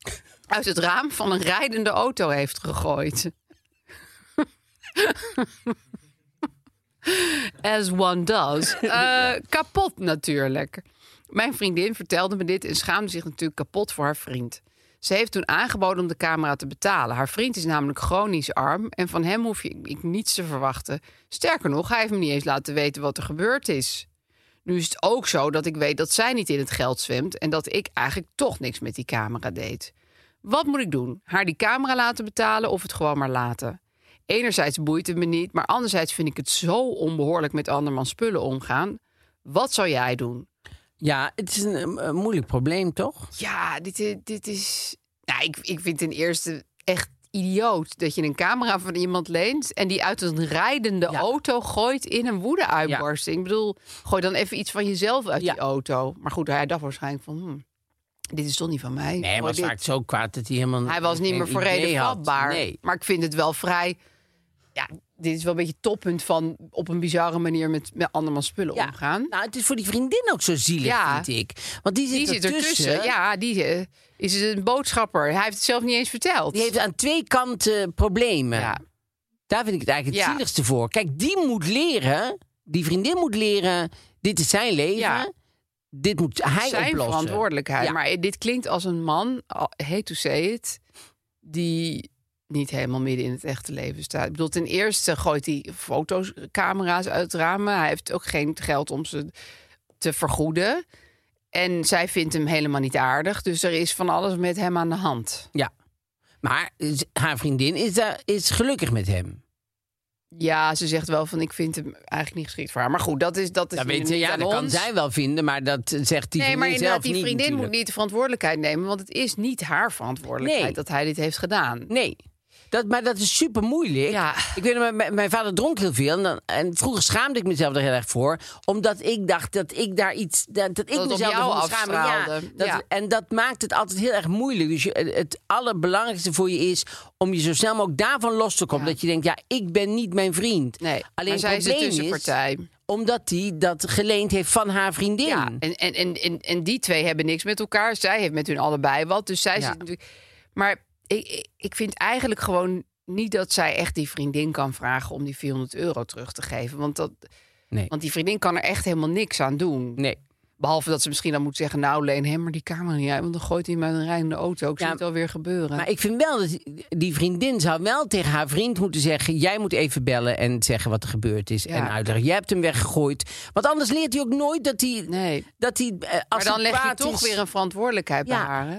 S4: uit het raam van een rijdende auto heeft gegooid. As one does. Eh, kapot natuurlijk. Mijn vriendin vertelde me dit en schaamde zich natuurlijk kapot voor haar vriend. Ze heeft toen aangeboden om de camera te betalen. Haar vriend is namelijk chronisch arm en van hem hoef je ik niets te verwachten. Sterker nog, hij heeft me niet eens laten weten wat er gebeurd is. Nu is het ook zo dat ik weet dat zij niet in het geld zwemt en dat ik eigenlijk toch niks met die camera deed. Wat moet ik doen? Haar die camera laten betalen of het gewoon maar laten? Enerzijds boeit het me niet, maar anderzijds vind ik het zo onbehoorlijk met andermans spullen omgaan. Wat zou jij doen?
S3: Ja, het is een, eh, moeilijk probleem, toch?
S4: Ja, dit, i- dit is. Nou, ik, ik vind ten eerste echt idioot dat je een camera van iemand leent en die uit een rijdende
S3: Ja.
S4: auto gooit in een woede-uitbarsting. Ik bedoel, gooi dan even iets van jezelf uit
S3: Ja.
S4: die auto. Maar goed, hij dacht waarschijnlijk van. hm, dit is toch niet van mij.
S3: Nee,
S4: Gooi
S3: hij was
S4: dit.
S3: vaak zo kwaad dat hij helemaal
S4: Hij was niet
S3: geen
S4: meer voor
S3: idee
S4: reden
S3: had.
S4: vatbaar.
S3: Nee.
S4: Maar ik vind het wel vrij. Ja, dit is wel een beetje het toppunt van op een bizarre manier met, met andermans spullen
S3: Ja.
S4: omgaan.
S3: Nou, het is voor die vriendin ook zo zielig,
S4: Ja.
S3: vind ik. Want die zit,
S4: Die zit
S3: ertussen.
S4: ertussen. Ja, die eh, is een boodschapper. Hij heeft het zelf niet eens verteld.
S3: Die heeft aan twee kanten problemen.
S4: ja.
S3: Daar vind ik het eigenlijk het
S4: Ja.
S3: zieligste voor. Kijk, die moet leren, die vriendin moet leren, dit is zijn leven.
S4: Ja.
S3: Dit moet hij
S4: zijn
S3: oplossen.
S4: verantwoordelijkheid.
S3: Ja.
S4: Maar dit klinkt als een man, al- hate to say it, die niet helemaal midden in het echte leven staat. Ik bedoel, ten eerste gooit hij foto's, camera's uit ramen. Hij heeft ook geen geld om ze te vergoeden. En zij vindt hem helemaal niet aardig. Dus er is van alles met hem aan de hand.
S3: Ja. Maar z- haar vriendin is, daar, is gelukkig met hem.
S4: Ja, ze zegt wel van ik vind hem eigenlijk niet geschikt voor haar. Maar goed, dat is dat is
S3: Dat,
S4: nu
S3: weet
S4: niet
S3: je, ja,
S4: aan
S3: dat kan
S4: ons.
S3: zij wel vinden, maar dat eh, zegt die
S4: nee,
S3: vriendin
S4: maar inderdaad,
S3: zelf
S4: die
S3: niet
S4: vriendin moet
S3: natuurlijk.
S4: niet de verantwoordelijkheid nemen, want het is niet haar verantwoordelijkheid
S3: Nee.
S4: dat hij dit heeft gedaan.
S3: Nee. Dat, maar dat is super moeilijk.
S4: Ja.
S3: Ik weet, nog, mijn- mijn, mijn vader dronk heel veel. En, dan- en vroeger schaamde ik mezelf er heel erg voor. Omdat ik dacht dat ik daar iets. Dat, dat ik
S4: het op
S3: mezelf
S4: jou
S3: ervoor schaamde. Ja,
S4: afstraalde.
S3: dat,
S4: Ja.
S3: En dat maakt het altijd heel erg moeilijk. Dus je, het allerbelangrijkste voor je is om je zo snel mogelijk daarvan los te komen. Dat je denkt, ja, ik ben niet mijn vriend.
S4: Nee,
S3: Alleen
S4: maar zij
S3: het
S4: is de
S3: probleem
S4: tussenpartij.
S3: Omdat hij dat geleend heeft van haar vriendin.
S4: Ja, en, en, en, en, en die twee hebben niks met elkaar. Zij heeft met hun allebei wat. Dus zij
S3: Ja.
S4: zit natuurlijk. Maar ik- ik, ik vind eigenlijk gewoon niet dat zij echt die vriendin kan vragen om die 400 euro terug te geven. Want, dat,
S3: nee.
S4: want die vriendin kan er echt helemaal niks aan doen.
S3: nee.
S4: Behalve dat ze misschien dan moet zeggen: Nou, leen hem maar die camera niet uit. Want dan gooit hij hem uit een rijdende auto. Ik
S3: Ja,
S4: zie het alweer gebeuren.
S3: Maar ik vind wel dat die vriendin zou wel tegen haar vriend moeten zeggen: Jij moet even bellen en zeggen wat er gebeurd is.
S4: Ja.
S3: En uitleggen: Jij hebt hem weggegooid. Want anders leert hij ook nooit dat hij.
S4: nee.
S3: Dat hij eh, als
S4: Maar dan
S3: hij
S4: leg je
S3: kwaad
S4: toch
S3: is-
S4: weer een verantwoordelijkheid
S3: Ja.
S4: bij haar. Hè?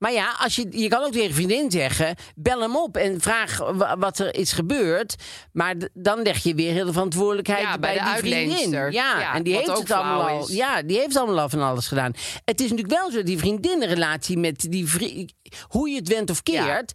S3: Maar ja, als je, je kan ook tegen een vriendin zeggen: bel hem op en vraag wa- wat er is gebeurd. Maar d- dan leg je weer heel de verantwoordelijkheid
S4: Ja, bij
S3: bij,
S4: de
S3: die vriendin.
S4: uitleenster.
S3: Ja,
S4: Ja,
S3: en die
S4: wat
S3: heeft
S4: ook
S3: het allemaal
S4: flauw
S3: al.
S4: is.
S3: Ja, die heeft allemaal al van alles gedaan. Het is natuurlijk wel zo, die vriendinnenrelatie met die vri- hoe je het went of
S4: Ja.
S3: keert.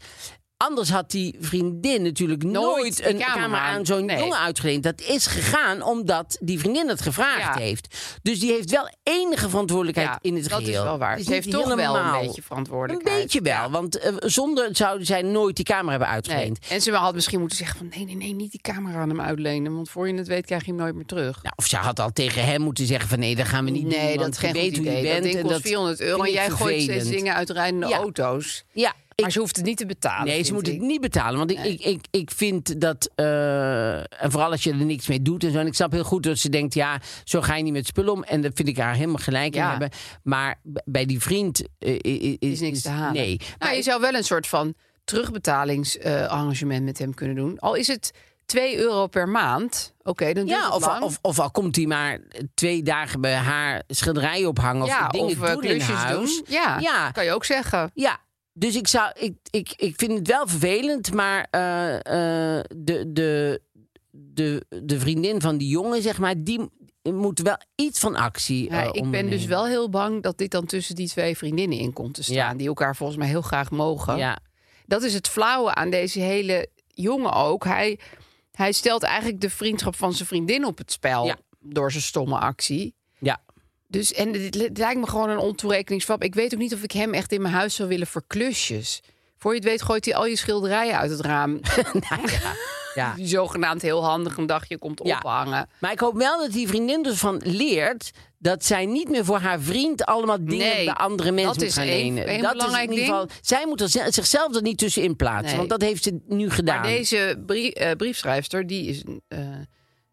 S3: Anders had die vriendin natuurlijk nooit,
S4: Nooit die
S3: een
S4: camera
S3: camera
S4: aan.
S3: aan zo'n
S4: Nee.
S3: jongen uitgeleend. Dat is gegaan omdat die vriendin het gevraagd
S4: Ja.
S3: heeft. Dus die heeft wel enige verantwoordelijkheid
S4: Ja,
S3: in het
S4: dat is
S3: geheel.
S4: wel waar.
S3: Het is
S4: Ze heeft
S3: niet
S4: toch wel een
S3: helemaal-
S4: beetje verantwoordelijkheid.
S3: Een beetje wel,
S4: Ja.
S3: want eh, zonder zouden zij nooit die camera hebben
S4: Nee.
S3: uitgeleend.
S4: En ze had misschien moeten zeggen van... nee, nee, nee, niet die camera aan hem uitlenen. Want voor je het weet krijg je hem nooit meer terug.
S3: Nou, of ze had al tegen hem moeten zeggen van nee, dat gaan we niet doen.
S4: nee, dat
S3: want je
S4: is geen goed
S3: weet hoe
S4: idee.
S3: je bent.
S4: dat ding
S3: en
S4: kost 400 euro en
S3: vind ik
S4: jij gooit steeds
S3: vervelend.
S4: dingen uit rijdende
S3: Ja.
S4: auto's.
S3: Ja,
S4: Maar
S3: ik-
S4: ze hoeft het niet te betalen.
S3: Nee, ze
S4: vind
S3: moeten het
S4: ik.
S3: niet betalen. Want ik, ik, ik, ik vind dat. eh, en vooral als je er niks mee doet en zo. En ik snap heel goed dat ze denkt: ja, zo ga je niet met spullen om. En dat vind ik haar helemaal gelijk in
S4: Ja.
S3: hebben. Maar b- bij die vriend eh, i- i-
S4: Er is niks te halen.
S3: Nee.
S4: Nou,
S3: Maar
S4: je zou wel een soort van terugbetalingsarrangement met hem kunnen doen. Al is het 2 euro per maand. Oké, dan duurt
S3: Ja,
S4: het
S3: of,
S4: lang.
S3: al- of, of al komt hij maar twee dagen bij haar schilderij ophangen.
S4: ja,
S3: of dingen
S4: eh,
S3: doen in
S4: klusjes
S3: huis.
S4: doen. Ja,
S3: ja,
S4: kan je ook zeggen.
S3: ja. Dus ik, zou, ik, ik, ik vind het wel vervelend, maar eh, eh, de, de, de, de vriendin van die jongen, zeg maar, die moet wel iets van actie
S4: Ja,
S3: eh,
S4: ik ben dus
S3: ondernemen.
S4: wel heel bang dat dit dan tussen die twee vriendinnen in komt te staan.
S3: Ja.
S4: Die elkaar volgens mij heel graag mogen.
S3: Ja,
S4: dat is het flauwe aan deze hele jongen ook. Hij, hij stelt eigenlijk de vriendschap van zijn vriendin op het spel
S3: Ja.
S4: door zijn stomme actie.
S3: ja.
S4: Dus en het li- het lijkt me gewoon een ontoerekeningsfab. Ik weet ook niet of ik hem echt in mijn huis zou willen voor klusjes. Voor je het weet gooit hij al je schilderijen uit het
S3: [laughs]
S4: raam.
S3: Nou ja.
S4: Die [laughs] zogenaamd heel handig een dagje komt
S3: Ja.
S4: ophangen.
S3: Maar ik hoop wel dat die vriendin dus van leert dat zij niet meer voor haar vriend allemaal dingen
S4: Nee,
S3: bij andere mensen
S4: dat
S3: moet
S4: is
S3: gaan
S4: één-
S3: lenen.
S4: één
S3: dat
S4: belangrijk
S3: is in ieder geval. Zij moet er ze- zichzelf er niet tussenin plaatsen,
S4: Nee.
S3: want dat heeft ze nu gedaan.
S4: Maar deze brie- eh, briefschrijfster, die is, eh,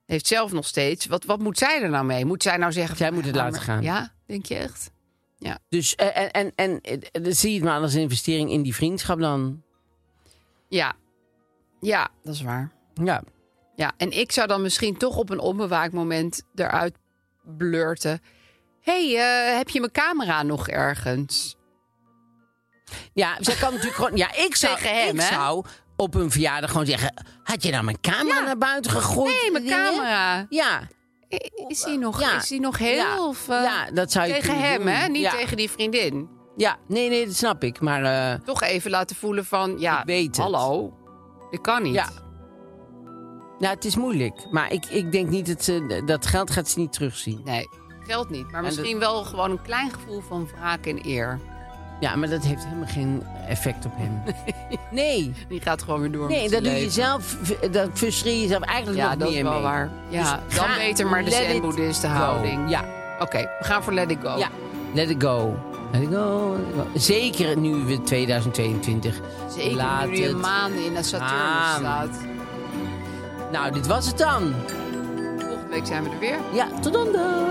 S4: heeft zelf nog steeds... Wat, wat moet zij er nou mee? Moet zij nou zeggen...
S3: Zij
S4: van,
S3: moet het
S4: ja,
S3: laten
S4: maar-
S3: gaan.
S4: Ja, denk je echt?
S3: Dus eh, en, en, en eh, dan zie je het maar als een investering in die vriendschap dan.
S4: Ja. Ja, dat is waar.
S3: Ja.
S4: Ja, en ik zou dan misschien toch op een onbewaakt moment eruit blurten. hey, eh, heb je mijn camera nog ergens?
S3: Ja, zij kan [laughs] natuurlijk gewoon. Ja, ik zou,
S4: Tegen hem,
S3: ik
S4: hè?
S3: zou op een verjaardag gewoon zeggen: had je nou mijn camera naar buiten gegooid?
S4: Hé, hey, mijn
S3: Dingen?
S4: camera.
S3: Ja,
S4: Is die nog,
S3: Ja.
S4: is die nog heel?
S3: Ja.
S4: Of, eh,
S3: ja, dat zou je
S4: tegen
S3: kunnen
S4: hem,
S3: doen.
S4: hè? Niet
S3: ja.
S4: tegen die vriendin.
S3: Ja, nee, nee, dat snap ik. Maar eh,
S4: Toch even laten voelen van,
S3: Ik
S4: ja,
S3: weet het.
S4: hallo, dit kan niet.
S3: Ja. nou, het is moeilijk. Maar ik, ik denk niet dat ze dat geld gaat ze niet terugzien.
S4: Nee, geldt niet. Maar misschien wel gewoon een klein gevoel van wraak en eer.
S3: Ja, maar dat heeft helemaal geen effect op hem. [laughs] Nee,
S4: Die gaat gewoon weer door
S3: nee dat
S4: met zijn
S3: doe je
S4: leven.
S3: zelf. Dat frustreer je jezelf eigenlijk
S4: Ja,
S3: nog
S4: dat
S3: meer
S4: is wel
S3: mee.
S4: waar. Ja,
S3: Dus
S4: dan
S3: ga-
S4: beter maar de
S3: let it
S4: zen-boeddhisten
S3: go.
S4: houding.
S3: Ja.
S4: Oké, we gaan voor Let It Go.
S3: Ja, Oh. let it go. Let it go. let it go. Zeker nu we 2022.
S4: Zeker
S3: Laat
S4: nu die
S3: het
S4: maan in de Saturnus
S3: gaan.
S4: staat.
S3: Nou, dit was het dan.
S4: Volgende week zijn we er weer.
S3: Ja, tot dan dan.